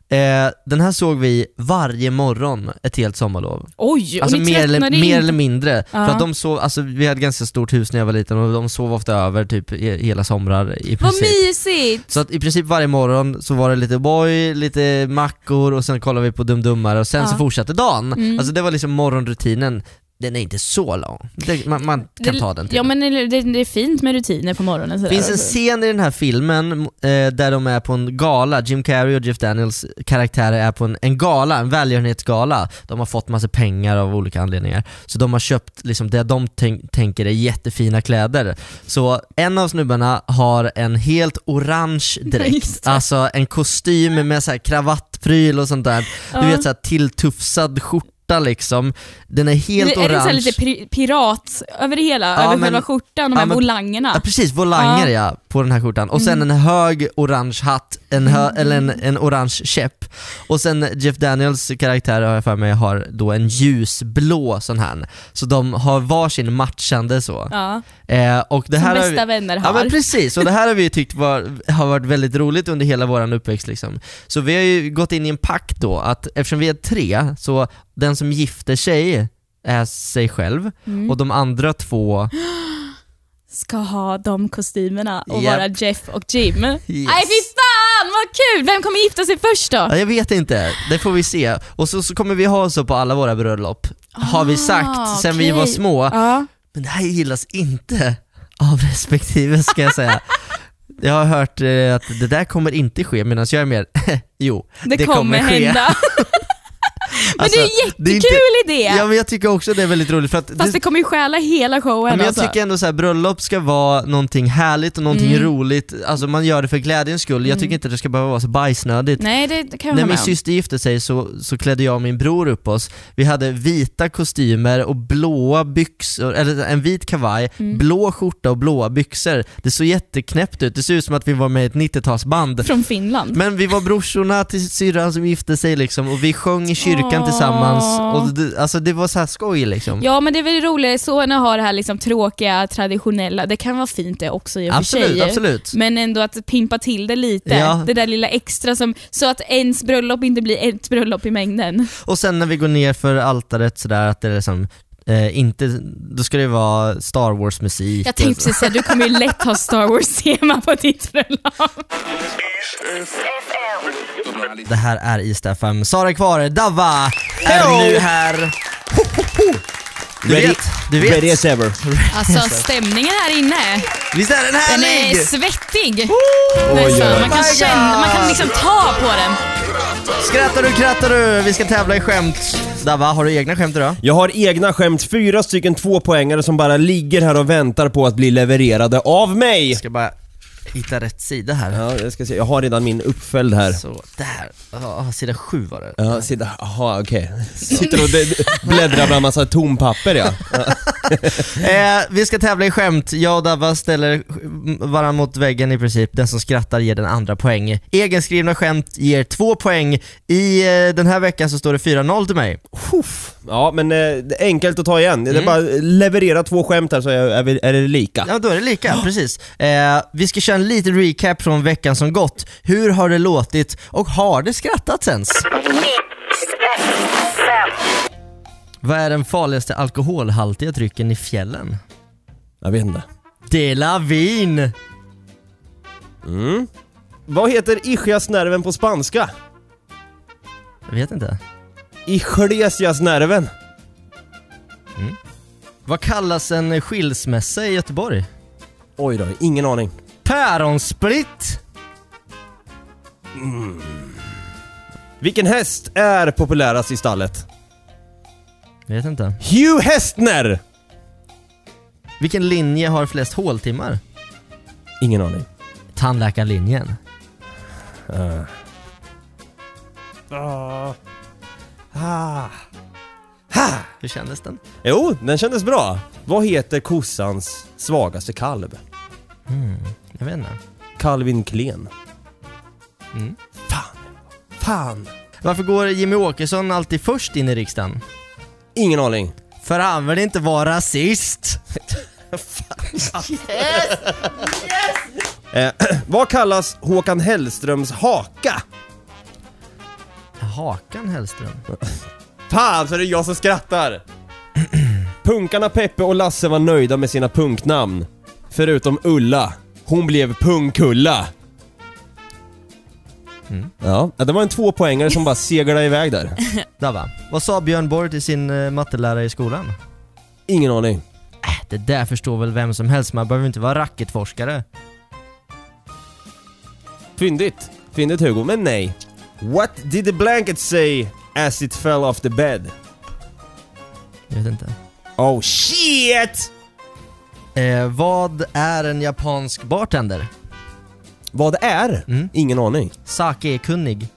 S9: Eh, den här såg vi varje morgon ett helt sommarlov.
S11: Oj, och
S9: Alltså
S11: ni
S9: mer eller,
S11: tröttnade
S9: mer
S11: inte.
S9: eller mindre. För
S11: Ja.
S9: att de sov, alltså, vi hade ganska stort hus när jag var liten och de sov ofta över typ he- hela somrar i
S11: Vad
S9: princip.
S11: mysigt!
S9: Så att i princip varje morgon så var det lite boy, lite mackor och sen kollade vi på Dum Dummare och sen
S11: Ja. Mm.
S9: så fortsatte dagen. Alltså det var liksom morgonrutinen. den är inte så lång. Det, man, man kan
S6: det,
S9: ta den till.
S6: Ja men eller- det, det är fint med rutiner på morgonen Alltså, sådär.
S9: Det finns en scen i den här filmen eh, där de är på en gala, Jim Carrey och Jeff Daniels karaktärer är på en, en gala, en välgörenhetsgala. De har fått massa pengar av olika anledningar. Så de har köpt liksom, det de tänk, tänker är jättefina kläder. Så en av snubbarna har en helt orange
S6: Just
S9: dräkt,
S6: det.
S9: alltså en kostym med så här kravattpryl och sånt där. Du vet så här tilltufsad skjorta liksom. Den är helt
S6: Eller- är det så här
S9: orange.
S6: lite pri- pirat över det hela?
S9: Ja,
S6: över
S9: men-
S6: själva skjortan, de
S9: ja,
S6: här
S9: men-
S6: volangerna? Mm.
S9: Ja precis, volanger ja. på den här skjortan. Och sen en hög orange hatt, en hö- eller en, en orange käpp. Och sen Jeff Daniels karaktär har jag för mig har då en ljusblå sån här. Så de har varsin matchande så.
S6: Ja,
S9: Eh, och det
S6: som
S9: här har
S6: bästa
S9: vi-
S6: vänner
S9: Ja
S6: har.
S9: men precis, och det här har vi ju tyckt var, har varit väldigt roligt under hela vår uppväxt liksom. Så vi har ju gått in i en pakt då, att eftersom vi är tre, så den som gifter sig är sig själv
S6: Mm.
S9: och de andra två
S6: Ska ha de kostymerna och
S9: Japp.
S6: vara Jeff och Jim. Nej fy fan vad kul! Vem kommer gifta sig först då?
S9: Ja, jag vet inte, det får vi se. Och så, så kommer vi ha så på alla våra bröllop, har vi sagt sen vi
S6: Ah, okej.
S9: var små.
S6: Ja.
S9: Men det här gillas inte av respektive ska jag säga. Jag har hört eh, att det där kommer inte ske medan jag är mer, jo,
S6: Det, kommer, hända. men
S9: Alltså,
S6: det är en
S9: det är
S6: jättekul
S9: inte-
S6: idé!
S9: Ja men jag tycker också det är väldigt roligt för att
S6: Fast det
S9: det,
S6: kommer ju stjäla hela showen
S9: Ja, men jag
S6: alltså.
S9: tycker ändå så här, bröllop ska vara någonting härligt och någonting
S6: Mm.
S9: roligt, alltså man gör det för glädjens skull. Jag tycker inte det ska behöva vara så bajsnödigt.
S6: Nej det det kan jag
S9: När
S6: hålla
S9: min
S6: med om.
S9: syster gifte sig så, så klädde jag och min bror upp oss. Vi hade vita kostymer och blåa byxor, eller en vit kavaj,
S6: Mm.
S9: blå skjorta och blåa byxor. Det såg jätteknäppt ut, det såg ut som att vi var med i ett 90-talsband.
S6: Från Finland.
S9: Men vi var brorsorna till syrran som gifte sig liksom och vi sjöng i kyrkan
S6: Åh.
S9: tillsammans och det, alltså det var så här skoj liksom.
S6: Ja men det är väl roligare så än att ha det här liksom tråkiga, traditionella. Det kan vara fint det också i och för
S9: absolut,
S6: sig.
S9: absolut.
S6: Men ändå att pimpa till det lite.
S9: Ja.
S6: Det där lilla extra som, så att ens bröllop inte blir ett bröllop i mängden.
S9: Och sen när vi går ner för altaret sådär att det är liksom, eh, inte, då ska det vara Star Wars musik.
S6: Jag tänkte precis säga, du kommer ju lätt ha Star Wars-tema på ditt bröllop.
S9: Det här är Ista FM. Sara är kvar, Dava är nu här. Du
S2: Ready-
S9: vet, du vet.
S2: Ready as ever.
S6: Alltså stämningen här inne,
S9: Visst är den
S6: den
S9: härlig?
S6: är svettig. Nästan. Man kan
S9: my
S6: känna, man
S9: God.
S6: kan liksom ta på den.
S9: Skrattar du, krattar du. Vi ska tävla i skämt. Dava, har du egna skämt idag?
S2: Jag har egna skämt, fyra stycken tvåpoängare som bara ligger här och väntar på att bli levererade av mig.
S9: Jag ska bara hitta rätt sida här.
S2: Ja, jag ska se. Jag har redan min uppföljd här.
S9: Så, där. Ja, sida sju var det.
S2: Ja, sitta, aha, okej. Sitter och d- d- bläddrar bland massa tompapper ja.
S9: Eh, vi ska tävla i skämt. Jag och Dava ställer varandra mot väggen i princip. Den som skrattar ger den andra poäng. Egenskrivna skämt ger två poäng. I eh, den här veckan så står det 4-0 till mig.
S2: Puff. Ja men eh, det är enkelt att ta igen. Det är bara att leverera två skämt här så är, är, vi- är det lika.
S9: Mm. Ja, då är det lika. Precis. Eh, vi ska köra en liten recap från veckan som gått. Hur har det låtit och har det skrattats ens? Vad är den farligaste alkoholhaltiga drycken i fjällen?
S2: Jag vet inte.
S9: Det är lavin!
S2: Vad heter ischiasnerven på spanska?
S9: Jag vet inte.
S2: Iglesiasnerven.
S9: Vad kallas en skilsmässa i Göteborg?
S2: Oj då, ingen aning.
S9: Päronsplitt!
S2: Vilken häst är populärast i stallet?
S9: Jag vet inte.
S2: Hugh Hestner!
S9: Vilken linje har flest håltimmar?
S2: Ingen aning.
S9: Tandläkarlinjen. Hur kändes den?
S2: Jo, den kändes bra. Vad heter kossans svagaste kalv?
S9: Jag vet inte.
S2: Calvin Klen.
S9: Mm.
S2: Fan. Fan.
S9: Varför går Jimmy Åkesson alltid först in i riksdagen?
S2: Ingen aning.
S9: För han vill inte vara rasist!
S2: Eh, vad kallas Håkan Hellströms haka?
S9: Hakan Hellström.
S2: Fan så är det jag som skrattar! Punkarna Peppe och Lasse var nöjda med sina punknamn. Förutom Ulla. Hon blev Punkulla. Ja, det var en tvåpoängare som bara seglade iväg där.
S9: Dava, vad sa Björn Borg till sin eh, mattelärare i skolan?
S2: Ingen aning.
S9: Äh, det där förstår väl vem som helst, man behöver inte vara racketforskare.
S2: Fyndigt. Fyndigt Hugo, men nej. What did the blanket say as it fell off the bed?
S9: Jag vet inte.
S2: Oh shit!
S9: Eh, vad är en japansk bartender?
S2: Vad är?
S9: Mm.
S2: Ingen aning.
S9: Sake-kunnig.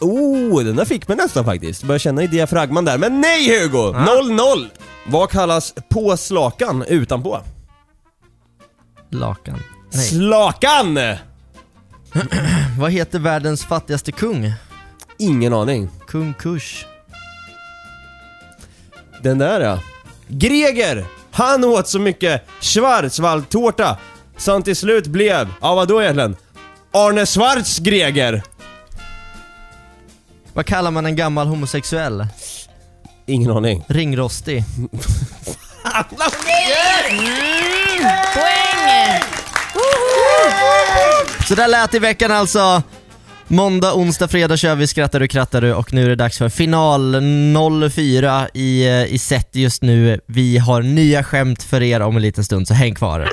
S2: Oh, den där fick man nästan faktiskt. Börjar känna i diafragman där. Men nej Hugo! 0-0! Vad kallas påslakan utanpå?
S9: Lakan. Nej.
S2: Slakan!
S9: Vad heter världens fattigaste kung?
S2: Ingen aning.
S9: Kung Kush.
S2: Den där ja. Greger! Han åt så mycket schwarzwaldtårta så han till slut blev, ja vadå egentligen? Arne Schwarz Greger!
S9: Vad kallar man en gammal homosexuell?
S2: Ingen aning.
S9: Ringrostig.
S3: Poäng!
S9: Så där lät i veckan alltså. Måndag, onsdag, fredag kör vi Skrattar du krattar du och nu är det dags för final 04 i, eh, i set just nu. Vi har nya skämt för er om en liten stund så häng kvar.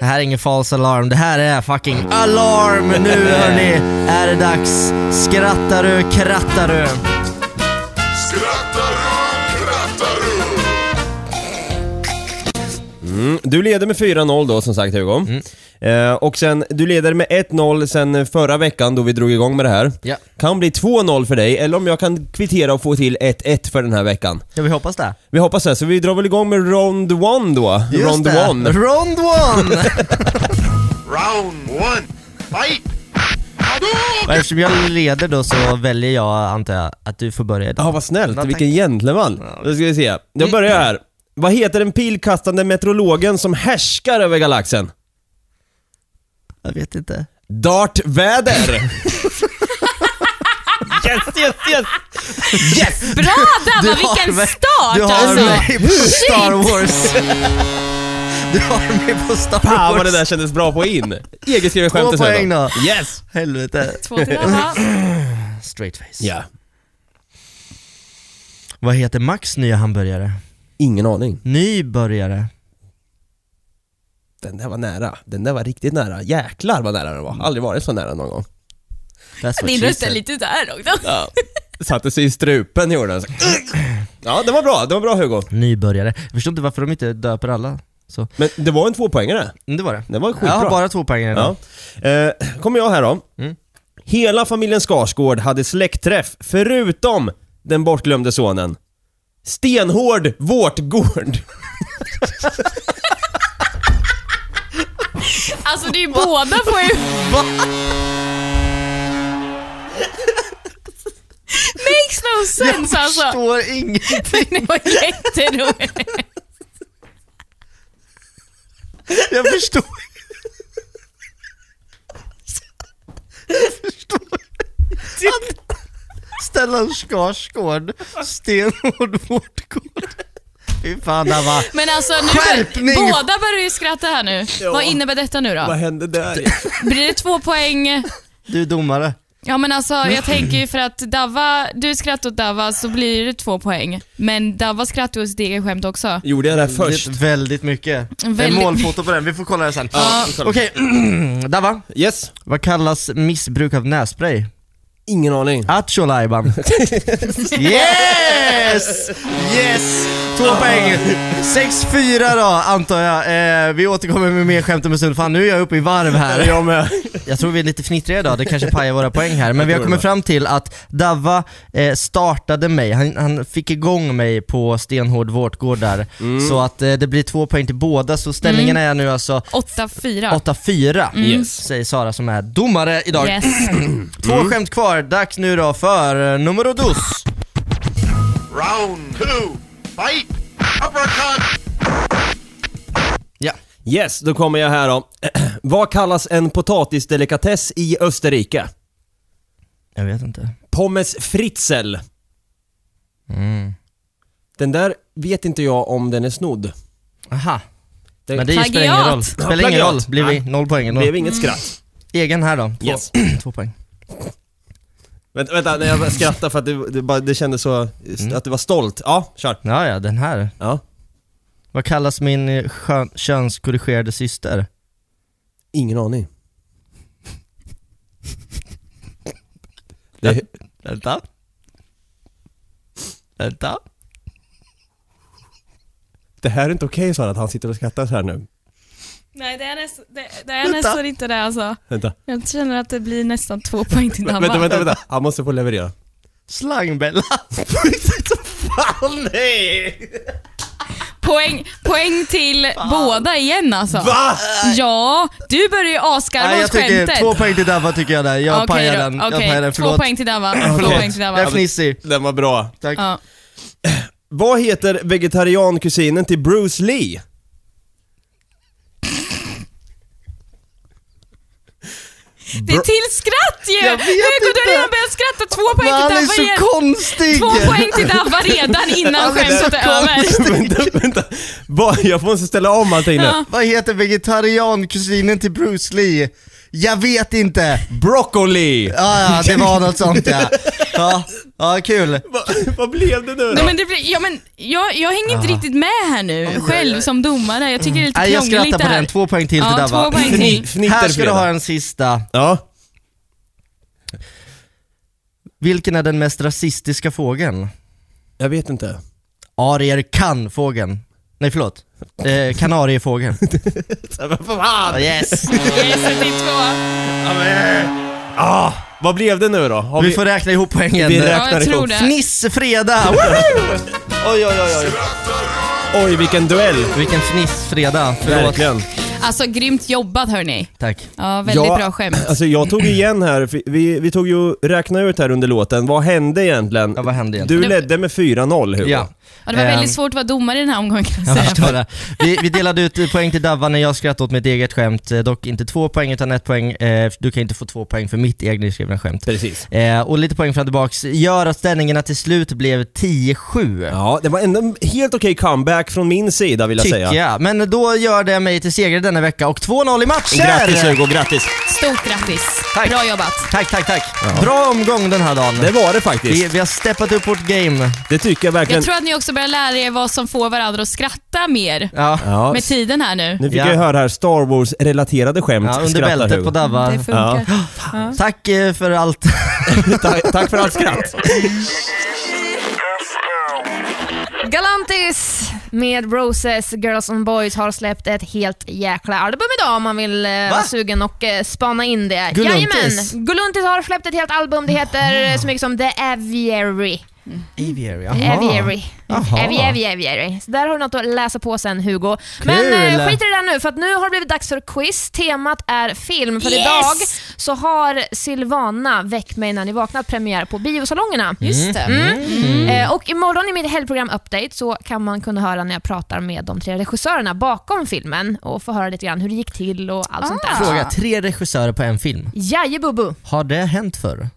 S9: Det här är ingen false alarm, det här är fucking alarm! Nu hörni är det dags. Skrattar du krattar du.
S2: Du leder med 4-0 då som sagt Hugo. Eh, och sen, du leder med 1-0 sen förra veckan då vi drog igång med det här.
S9: Ja.
S2: Kan bli 2-0 för dig, eller om jag kan kvittera och få till 1-1 för den här veckan.
S9: Ja vi hoppas det.
S2: Vi hoppas det, så vi drar väl igång med Round 1 då. round 1.
S9: Rond one!
S4: Round one. Fight.
S9: Och eftersom jag leder då så väljer jag antar jag att du får börja idag.
S2: Ja, vad snällt.
S9: Ja,
S2: Vilken
S9: tack.
S2: gentleman. Då ska vi se. Jag börjar här. Vad heter den pilkastande meteorologen som härskar över galaxen?
S9: Jag vet inte.
S2: Dartväder! yes, yes, yes! Yes!
S6: Bra Danna,
S9: Du har
S6: vilken
S9: mig-
S6: start
S9: Du har
S6: alltså!
S9: mig på Star Wars! Du har mig på Star
S2: Fan
S9: Wars!
S2: vad det där kändes bra på in! Eget skriver skämt
S9: Två poäng då.
S2: Yes!
S9: Helvete.
S6: Två till alla.
S9: Straight face.
S2: Ja.
S9: Vad heter Max nya hamburgare?
S2: Ingen aning.
S9: Nybörjare.
S2: Den där var nära. Den där var riktigt nära. Jäklar vad nära den var. Aldrig varit så nära någon gång.
S9: That's what
S6: Din
S9: she
S6: röst är
S9: said.
S6: lite där också.
S2: Satte sig i strupen gjorde den. Så- Ja, det var bra. Det var bra Hugo.
S9: Nybörjare. Jag förstår inte varför de inte döper alla. Så.
S2: Men det var en tvåpoängare.
S9: Men det var det.
S2: Det var
S9: Jag
S2: skitbra.
S9: har bara två poäng idag.
S2: Ja. Eh, kommer jag här då.
S9: Mm.
S2: Hela familjen Skarsgård hade släktträff förutom den bortglömde sonen. Stenhård vårtgård.
S6: Alltså det är ju båda får ju... Makes no sense alltså!
S9: Förstår inget.
S6: Det var jätteroligt.
S9: Jag förstår. Jag förstår. Att Stellan Skarsgård, stenhård vårdgård. Fy fan, det här var...
S6: Men alltså nu...
S9: Skärpning!
S6: Båda börjar ju skratta här nu. Vad innebär detta nu
S2: Vad
S6: då?
S2: hände där?
S6: Blir det två poäng?
S9: Du är domare.
S6: Ja men alltså jag tänker ju för att Dava, du skrattar åt Dava så blir det två poäng. Men Dava skrattar ju åt sitt eget skämt också.
S2: Gjorde jag det här först?
S9: Väldigt, väldigt mycket. Det är
S6: Väldigt-
S9: målfoto på den, vi får kolla det sen. Okej, Dava.
S2: Yes.
S9: Vad kallas missbruk av nässpray?
S2: Ingen aning.
S9: Atjolajban. Yes! Yes! Två
S2: Ah.
S9: poäng. 6-4 då, antar jag. Eh, vi återkommer med mer skämt om en stund. Fan, nu är jag uppe i varv här.
S2: Jag med.
S9: Jag tror vi är lite fnittriga idag, det kanske pajar våra poäng här. Men vi
S2: tror
S9: har
S2: det
S9: kommit
S2: va.
S9: fram till att Davva eh, startade mig, han, han fick igång mig på stenhård vårtgård där.
S2: Mm.
S9: Så att eh, det blir två poäng till båda, så ställningen är nu alltså
S6: Mm. Åtta, fyra.
S9: 8-4,
S2: Yes.
S9: säger Sara som är domare idag.
S6: Yes.
S9: Två skämt kvar, dags nu då för eh, numero dos.
S4: Round two. Fight. Uppercut.
S9: Ja.
S2: Yes, då kommer jag här då. Vad kallas en potatisdelikatess i Österrike?
S9: Jag vet inte.
S2: Pommes fritzel.
S9: Mm.
S2: Den där vet inte jag om den är snodd.
S9: Aha.
S2: Det-
S9: Men det är- spelar ingen
S6: Plagiat.
S9: roll.
S2: Ja,
S9: Spelar ingen
S2: plagiat.
S9: roll, blir vi
S2: Nej.
S9: noll poäng
S2: blev
S9: ändå.
S2: inget skratt.
S9: Egen här då, två,
S2: Yes.
S9: två poäng.
S2: Vänta, vänta nej, jag skrattar för att det, det, bara, det kändes så,
S9: Mm.
S2: att du var stolt. Ja, kör.
S9: Ja, ja, den här.
S2: Ja.
S9: Vad kallas min eh, skön- könskorrigerade syster?
S2: Ingen aning. Det,
S9: Vänta. Vänta.
S2: det här är inte okej Sara, att han sitter och skrattar så här nu.
S11: Nej det är, nästan, det, det är nästan inte det alltså.
S2: Vänta,
S11: Jag känner att det blir nästan två poäng till Damma.
S2: vänta, vänta, vänta. Han måste få leverera.
S9: Slangbella.
S2: Fan nej!
S11: Poäng, poäng till båda igen alltså.
S2: Va?
S11: Ja, du börjar ju asgarva
S9: Nej,
S11: åt
S9: jag tycker,
S11: skämtet.
S9: två poäng till Dabba tycker jag där. Jag
S11: Okej
S9: pajar
S11: då,
S9: den. Jag
S11: okej.
S9: pajar den,
S11: Två
S9: förlåt.
S11: poäng till Damma. Två
S2: Okej.
S11: poäng till
S9: jag är
S11: Damma.
S9: fnissig.
S2: Den var bra.
S9: Tack.
S11: Ja.
S2: Vad heter vegetariankusinen till Bruce Lee?
S11: Det är till skratt ju!
S9: Jag vet
S11: Hugo, du
S9: inte.
S11: har redan börjat skratta. Två
S9: Men
S11: poäng
S9: han
S11: till Damma
S9: är
S11: igen.
S9: så konstig!
S11: Två poäng till Dabba redan innan
S9: Han är
S11: skämtet
S9: så
S11: är över.
S2: vänta, vänta. Va? Jag måste ställa om allting nu.
S11: Ja.
S9: Vad heter vegetariankusinen till Bruce Lee? Jag vet inte!
S2: Broccoli!
S9: Ja, ja, det var något sånt ja. Ja, ja kul.
S2: Va, vad blev det nu
S11: Nej,
S2: då?
S11: men det blir, ja, men jag, jag hänger
S9: Ah.
S11: inte riktigt med här nu, själv som domare. Jag tycker det är lite
S9: Mm. Nej, jag
S11: krångligt
S9: skrattar
S11: det
S9: på
S11: här.
S9: den. Två poäng till till
S11: Ja,
S9: Dabba.
S11: två poäng
S2: Fni-
S11: till.
S2: fnitter
S9: Här ska du
S2: Freda.
S9: ha en sista.
S2: Ja.
S9: Vilken är den mest rasistiska fågeln?
S2: Jag vet inte.
S9: Arier kan fågeln. Nej förlåt. Eh, kanariefågeln.
S2: Vad fan!
S9: Ja, yes!
S11: Yes, det är två.
S2: Ah, vad blev det nu då? Har
S9: Vi får räkna ihop poängen.
S2: vi
S11: Ja, jag
S2: räknar
S11: tror
S2: ihop.
S11: det.
S9: Fnissfredag!
S2: Oj, oj, oj, oj. Oj, vilken duell.
S9: Vilken fnissfredag. Förlåt.
S2: Verkligen.
S11: Alltså grymt jobbat hörni.
S9: Tack.
S11: Ja, väldigt
S2: Ja,
S11: bra skämt.
S2: Alltså jag tog igen här, för vi, vi tog ju räkna ut här under låten, vad hände egentligen?
S9: Ja, vad hände
S2: Du
S9: egentligen?
S2: ledde med 4-0 Hugo.
S9: Ja.
S11: Ja, det var
S9: Ehm.
S11: väldigt svårt att vara domare i den här omgången kan jag
S9: Jag
S11: säga.
S9: förstår det. Vi, vi delade ut eh, poäng till Davva när jag skrattade åt mitt eget skämt. Eh, Dock inte två poäng utan ett poäng. Eh, Du kan inte få två poäng för mitt egna skämt.
S2: Precis.
S9: Eh, Och lite poäng fram och tillbaks gör att ställningarna till slut blev 10-7.
S2: Ja, det var ändå en helt okej comeback från min sida vill jag
S9: Tycker
S2: säga.
S9: jag. Men då gör det mig till segrare denna vecka och 2-0 i matcher!
S2: Grattis Hugo, grattis!
S11: Stort grattis.
S9: Tack.
S11: Bra jobbat.
S9: Tack, tack, tack. Bra omgång den här dagen.
S2: Det var det faktiskt.
S9: Vi, vi har steppat upp vårt game.
S2: Det tycker jag verkligen.
S11: Jag tror att ni också börjar lära er vad som får varandra att skratta mer
S9: Ja.
S2: Ja,
S11: med tiden här nu.
S2: nu fick
S9: Ja.
S2: jag ju höra här Star Wars-relaterade skämt.
S9: Ja, under
S2: skrattar
S9: bältet
S2: Hugo.
S9: på Davva.
S11: Det funkar. Ja.
S9: Tack eh, för allt.
S2: Ta- Tack för allt skratt.
S6: Galantis med Roses, Girls and Boys har släppt ett helt jäkla album idag om man vill eh, vara sugen och eh, spana in det.
S9: Gulluntis.
S6: Jajamän. Gulluntis har släppt ett helt album, det heter eh, så mycket som The Aviary.
S9: Aviary,
S6: Aviary.
S9: Jaha.
S6: Avi, avi, aviary. Så där har du något att läsa på sen Hugo. Men eh, skit i det där nu för att nu har det blivit dags för quiz. Temat är film för
S11: Yes!
S6: idag så har Silvana Väck mig när ni vaknat premiär på biosalongerna. Just det. Mm. Eh, och imorgon i mitt helgprogram Update så kan man kunna höra när jag pratar med de tre regissörerna bakom filmen och få höra lite grann hur det gick till och
S11: Ah.
S6: allt sånt där.
S9: Fråga, tre regissörer på en film.
S6: Jajebubbu.
S9: Har det hänt förr?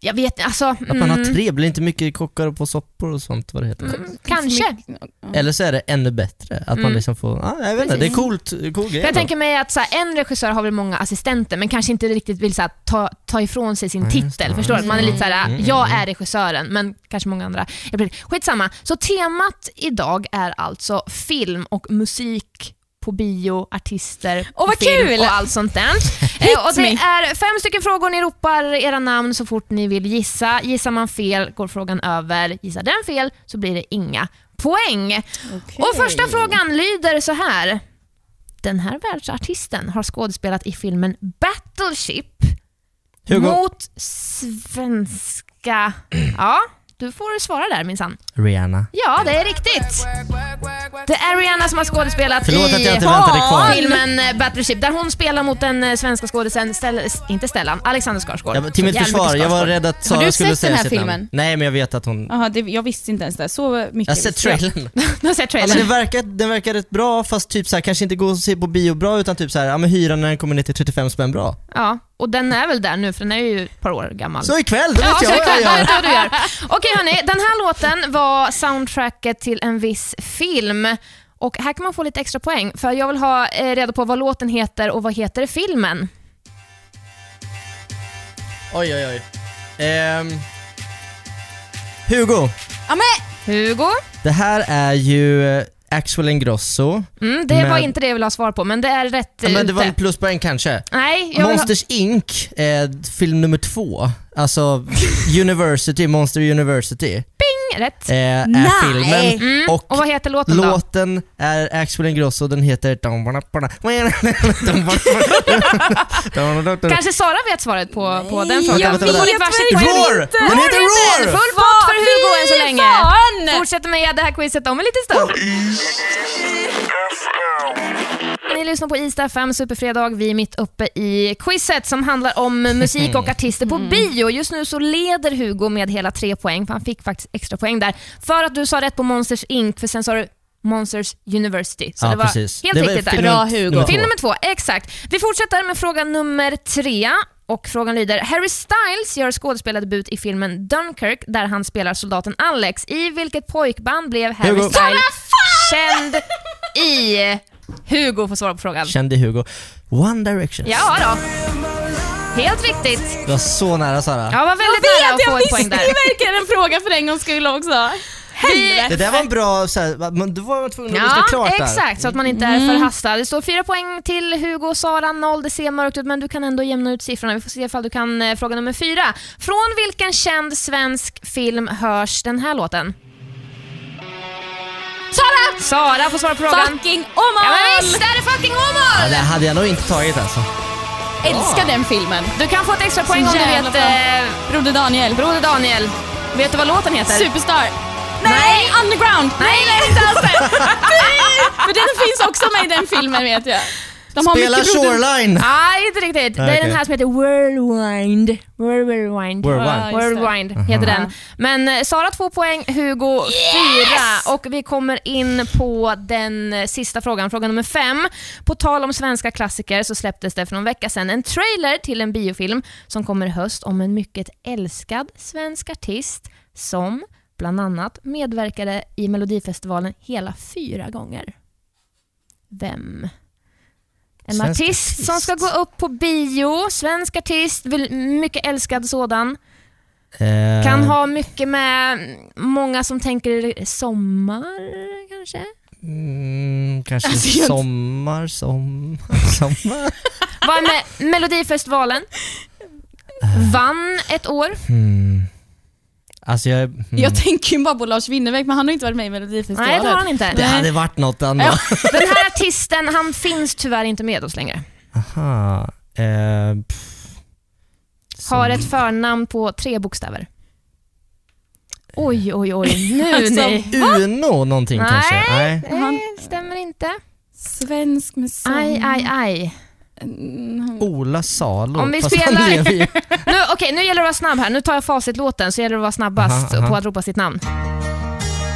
S6: Jag vet alltså,
S9: Att
S6: mm,
S9: man har tre, blir inte mycket kockar på soppor och sånt vad det heter?
S6: kanske. Mm.
S9: Eller så är det ännu bättre, att man liksom får, ah, jag vet inte, det är coolt, cool grej.
S6: För Mm. jag
S9: då.
S6: tänker mig att så här, en regissör har väl många assistenter men kanske inte riktigt vill så här, ta, ta ifrån sig sin titel. Förstår du? Man är lite så
S9: Mm,
S6: här, jag är regissören men kanske många andra. Jag blir, skitsamma. Så temat idag är alltså film och musik på bio, artister,
S11: Åh, vad
S6: film
S11: kul!
S6: och allt sånt där. Eh, och det är fem stycken frågor, ni ropar era namn så fort ni vill gissa. Gissar man fel går frågan över, gissar den fel så blir det inga poäng. Och första frågan lyder så här. Den här världsartisten har skådespelat i filmen Battleship
S9: Hugo,
S6: mot svenska... Ja, du får svara där minsann.
S9: Rihanna.
S6: Ja, det är riktigt. Det är Rihanna som har skådespelat
S9: Förlåt
S6: i
S9: att jag inte väntade kvar.
S6: filmen eh, Battleship där hon spelar mot den eh, svenska skådisen, Stell, inte Stellan, Alexander Skarsgård.
S9: Ja, till
S6: Jävligt
S9: mitt
S6: mycket
S9: försvar, jag var
S6: Skarsgård.
S9: rädd att Sara
S11: du
S9: skulle
S11: sett
S9: säga
S11: den här
S9: sitt namn.
S11: filmen?
S9: Nej men jag vet att hon...
S11: Jaha, det, jag visste inte ens det. Så mycket
S9: Jag har sett
S11: visste jag.
S9: trailern.
S6: Du har sett
S9: Alltså den
S6: trailern?
S9: verkar, den verkar rätt bra fast typ så här, kanske inte gå och se på bio bra utan typ så här, ja men hyran när den kommer ner till 35 spänn bra.
S6: Ja, och den är väl där nu för den är ju ett par år gammal.
S9: Så ikväll, då vet
S6: Ja,
S9: jag vad jag
S6: såklart.
S9: gör.
S6: Ja, det gör. Okej hörni, den här låten var soundtracket till en viss film. Och här kan man få lite extra poäng, för jag vill ha eh, reda på vad låten heter och vad heter filmen.
S9: Oj oj oj. Ehm, Hugo,
S11: Ja, men. Hugo?
S9: det här är ju eh, Axel Ingrosso.
S11: Mm, det
S9: Men-
S11: var inte det jag ville ha svar på, men det är rätt
S9: Ja,
S11: eh,
S9: men det var en
S11: ute.
S9: pluspoäng kanske.
S11: Nej, jag vill ha...
S9: Monsters Inc, eh, film nummer två, alltså University, Monster University,
S11: Bing! Rätt.
S9: eh, är
S12: Nej.
S9: filmen.
S11: Mm. Och,
S9: och
S11: vad heter låten då?
S9: Låten är Axel Ingrosso, den heter...
S11: Kanske Sara vet svarvet på, på den frågan.
S9: Vänta, vänta,
S11: Vi
S9: vänta.
S11: får ett varsitt poäng.
S9: Roar! Den heter
S11: Roar!
S9: Roar!
S11: Full pott för Hugo än så
S12: Fy
S11: länge.
S12: fan!
S11: Fortsätter med det här quizet om en liten stund. Ni lyssnar på Ista 5 Superfredag. Vi är mitt uppe i quizet som handlar om musik och artister på bio. Just nu så leder Hugo med hela tre poäng, för han fick faktiskt extra poäng där. För att du sa rätt på Monsters Inc, för sen sa du Monsters University. Så
S9: Ja,
S11: det var
S9: precis.
S11: helt
S9: Det var
S11: riktigt där.
S9: film
S12: Bra,
S9: nummer
S12: Hugo.
S9: två.
S11: Film nummer två, exakt. Vi fortsätter med fråga nummer tre. Och frågan lyder, Harry Styles gör skådespelardebut i filmen Dunkirk där han spelar soldaten Alex. I vilket pojkband blev Harry
S9: Hugo.
S11: Styles känd i? Hugo får svara på frågan.
S9: Kände Hugo. One Direction.
S11: Ja då. Helt riktigt.
S9: Det var så nära Sara.
S11: Ja,
S6: Jag
S11: var väldigt nära
S6: vet,
S11: att få
S6: jag
S11: ett
S6: visste
S11: poäng
S6: det
S11: där.
S6: verkar en fråga för en gångs skull också. Helvete.
S9: Det där var en bra, så här, men du var man tvungen att lyssna
S11: Ja,
S9: klart där.
S11: exakt. Så att man inte är förhastad. Det står fyra poäng till Hugo och Sara, noll. Det ser mörkt ut, men du kan ändå jämna ut siffrorna. Vi får se ifall du kan eh, fråga nummer fyra. Från vilken känd svensk film hörs den här låten? Sara! Sara får svara på frågan.
S12: Fucking Åmål!
S11: Ja, men visst är det fucking
S9: Ja, det
S11: Åmål!
S9: hade jag nog inte tagit alltså.
S6: Älskar den filmen.
S11: Du kan få ett extra poäng
S6: Så
S11: om du
S6: jävla
S11: vet...
S6: bra.
S11: Eh,
S6: Broder Daniel.
S11: Broder Daniel, vet du vad låten heter?
S6: Superstar.
S11: Nej!
S6: Underground.
S11: Nej, det är inte alls det!
S6: För den finns också med i den filmen vet jag. De har
S9: Spela
S6: mycket Broder...
S9: Shoreline!
S11: Nej, inte riktigt. Det är
S9: Nej,
S11: den
S9: okej.
S11: här som heter Whirlwind. Whirlwind.
S9: Whirlwind.
S6: Ja, just det.
S11: Whirlwind heter den. Men eh, Sara två poäng, Hugo fyra. Och vi kommer in på den eh, sista frågan, fråga nummer fem. På tal om svenska klassiker så släpptes det för någon vecka sedan en trailer till en biofilm som kommer i höst om en mycket älskad svensk artist som bland annat medverkade i Melodifestivalen hela fyra gånger. Vem? En
S9: Svensk
S11: artist,
S9: artist.
S11: som ska gå upp på bio, svensk artist, väl- mycket älskad sådan.
S9: Eh,
S11: Kan ha mycket med många som tänker sommar, kanske?
S9: Mm, kanske
S11: Alltså,
S6: jag-
S9: sommar, som, sommar.
S11: Var med Melodifestivalen.
S9: Äh.
S11: Vann ett år.
S9: Hmm. Alltså jag... Mm.
S6: Jag tänker ju bara på Lars Winnerbäck men han har ju inte varit med i Melodifestivalen.
S11: Nej, det har han inte.
S9: det hade varit något annat.
S11: Den här artisten, han finns tyvärr inte med oss längre.
S9: Aha. Eh, pff.
S11: Har ett förnamn på tre bokstäver. Oj, oj, oj. Nu
S6: Alltså,
S11: ni.
S9: Uno någonting
S11: Nej.
S9: kanske? Nej.
S11: Nej, stämmer inte.
S6: Svensk musik.
S11: Aj, aj, aj.
S9: Ola Salo.
S11: Mm. Om vi
S9: fast han
S11: spelar-
S9: lever ju.
S11: Nu, okej, nu gäller det att vara snabb här. Nu tar jag facitlåten så gäller det att vara snabbast
S9: Aha, aha.
S11: på att ropa sitt namn.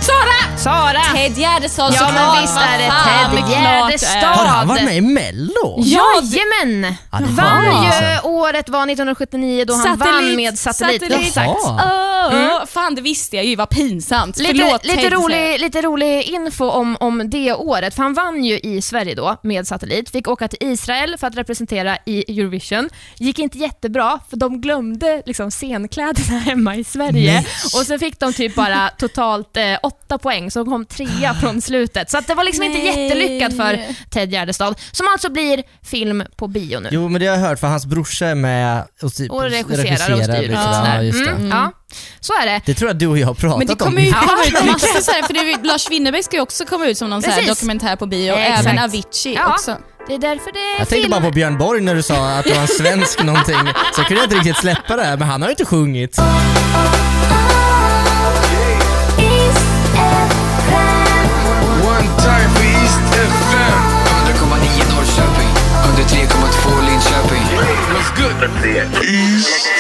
S11: Sara! Sara!
S12: Ted Gärdestad
S11: Ja men visst är det Ted
S9: Har han
S11: Gärdestad.
S9: varit med i mello?
S11: Jajamän!
S9: Ja, det har
S11: Vann
S9: han
S11: ju
S9: alltså.
S11: året var 1979 då han vann med Satellit.
S6: satellit.
S9: Jaha.
S6: Åh, Fan det visste jag ju, vad pinsamt.
S11: Mm. Lite,
S6: Förlåt
S11: lite,
S6: Ted, säger
S11: rolig, lite rolig info om, om det året, för han vann ju i Sverige då med Satellit, fick åka till Israel för att representera i Eurovision. Gick inte jättebra, för de glömde liksom scenkläderna hemma i Sverige.
S9: Nej.
S11: Och sen fick de typ bara totalt eh, åtta poäng, så de kom trea från slutet. Så att det var liksom inte
S6: Nej.
S11: jättelyckat för Ted Gärdestad, som alltså blir film på bio nu.
S9: Jo men det har jag hört för hans brorsa är med och, typ
S11: Och regisserar och
S9: regisserar
S11: styr.
S9: lite
S11: och
S9: grann.
S11: sådär.
S9: Ja, just det.
S11: Mm, ja, så är det.
S9: det tror jag du och jag har pratat
S6: Men det
S9: om.
S6: kommer ju
S11: Ja.
S6: komma ut massa så här, för det, är ju- Lars Winnerbäck ska ju också komma ut som någon så här
S11: Precis.
S6: dokumentär på bio, och
S11: Exakt.
S6: även Avicii
S11: Ja.
S6: också.
S11: Det är därför det är
S9: Jag tänkte
S11: film.
S9: bara på Björn Borg när du sa att du var en svensk någonting. Så kunde jag inte riktigt släppa det här, men han har ju inte sjungit.
S5: One time for East FM 100,9 Norrköping 103,2 Linköping
S4: What's good? Let's see it. East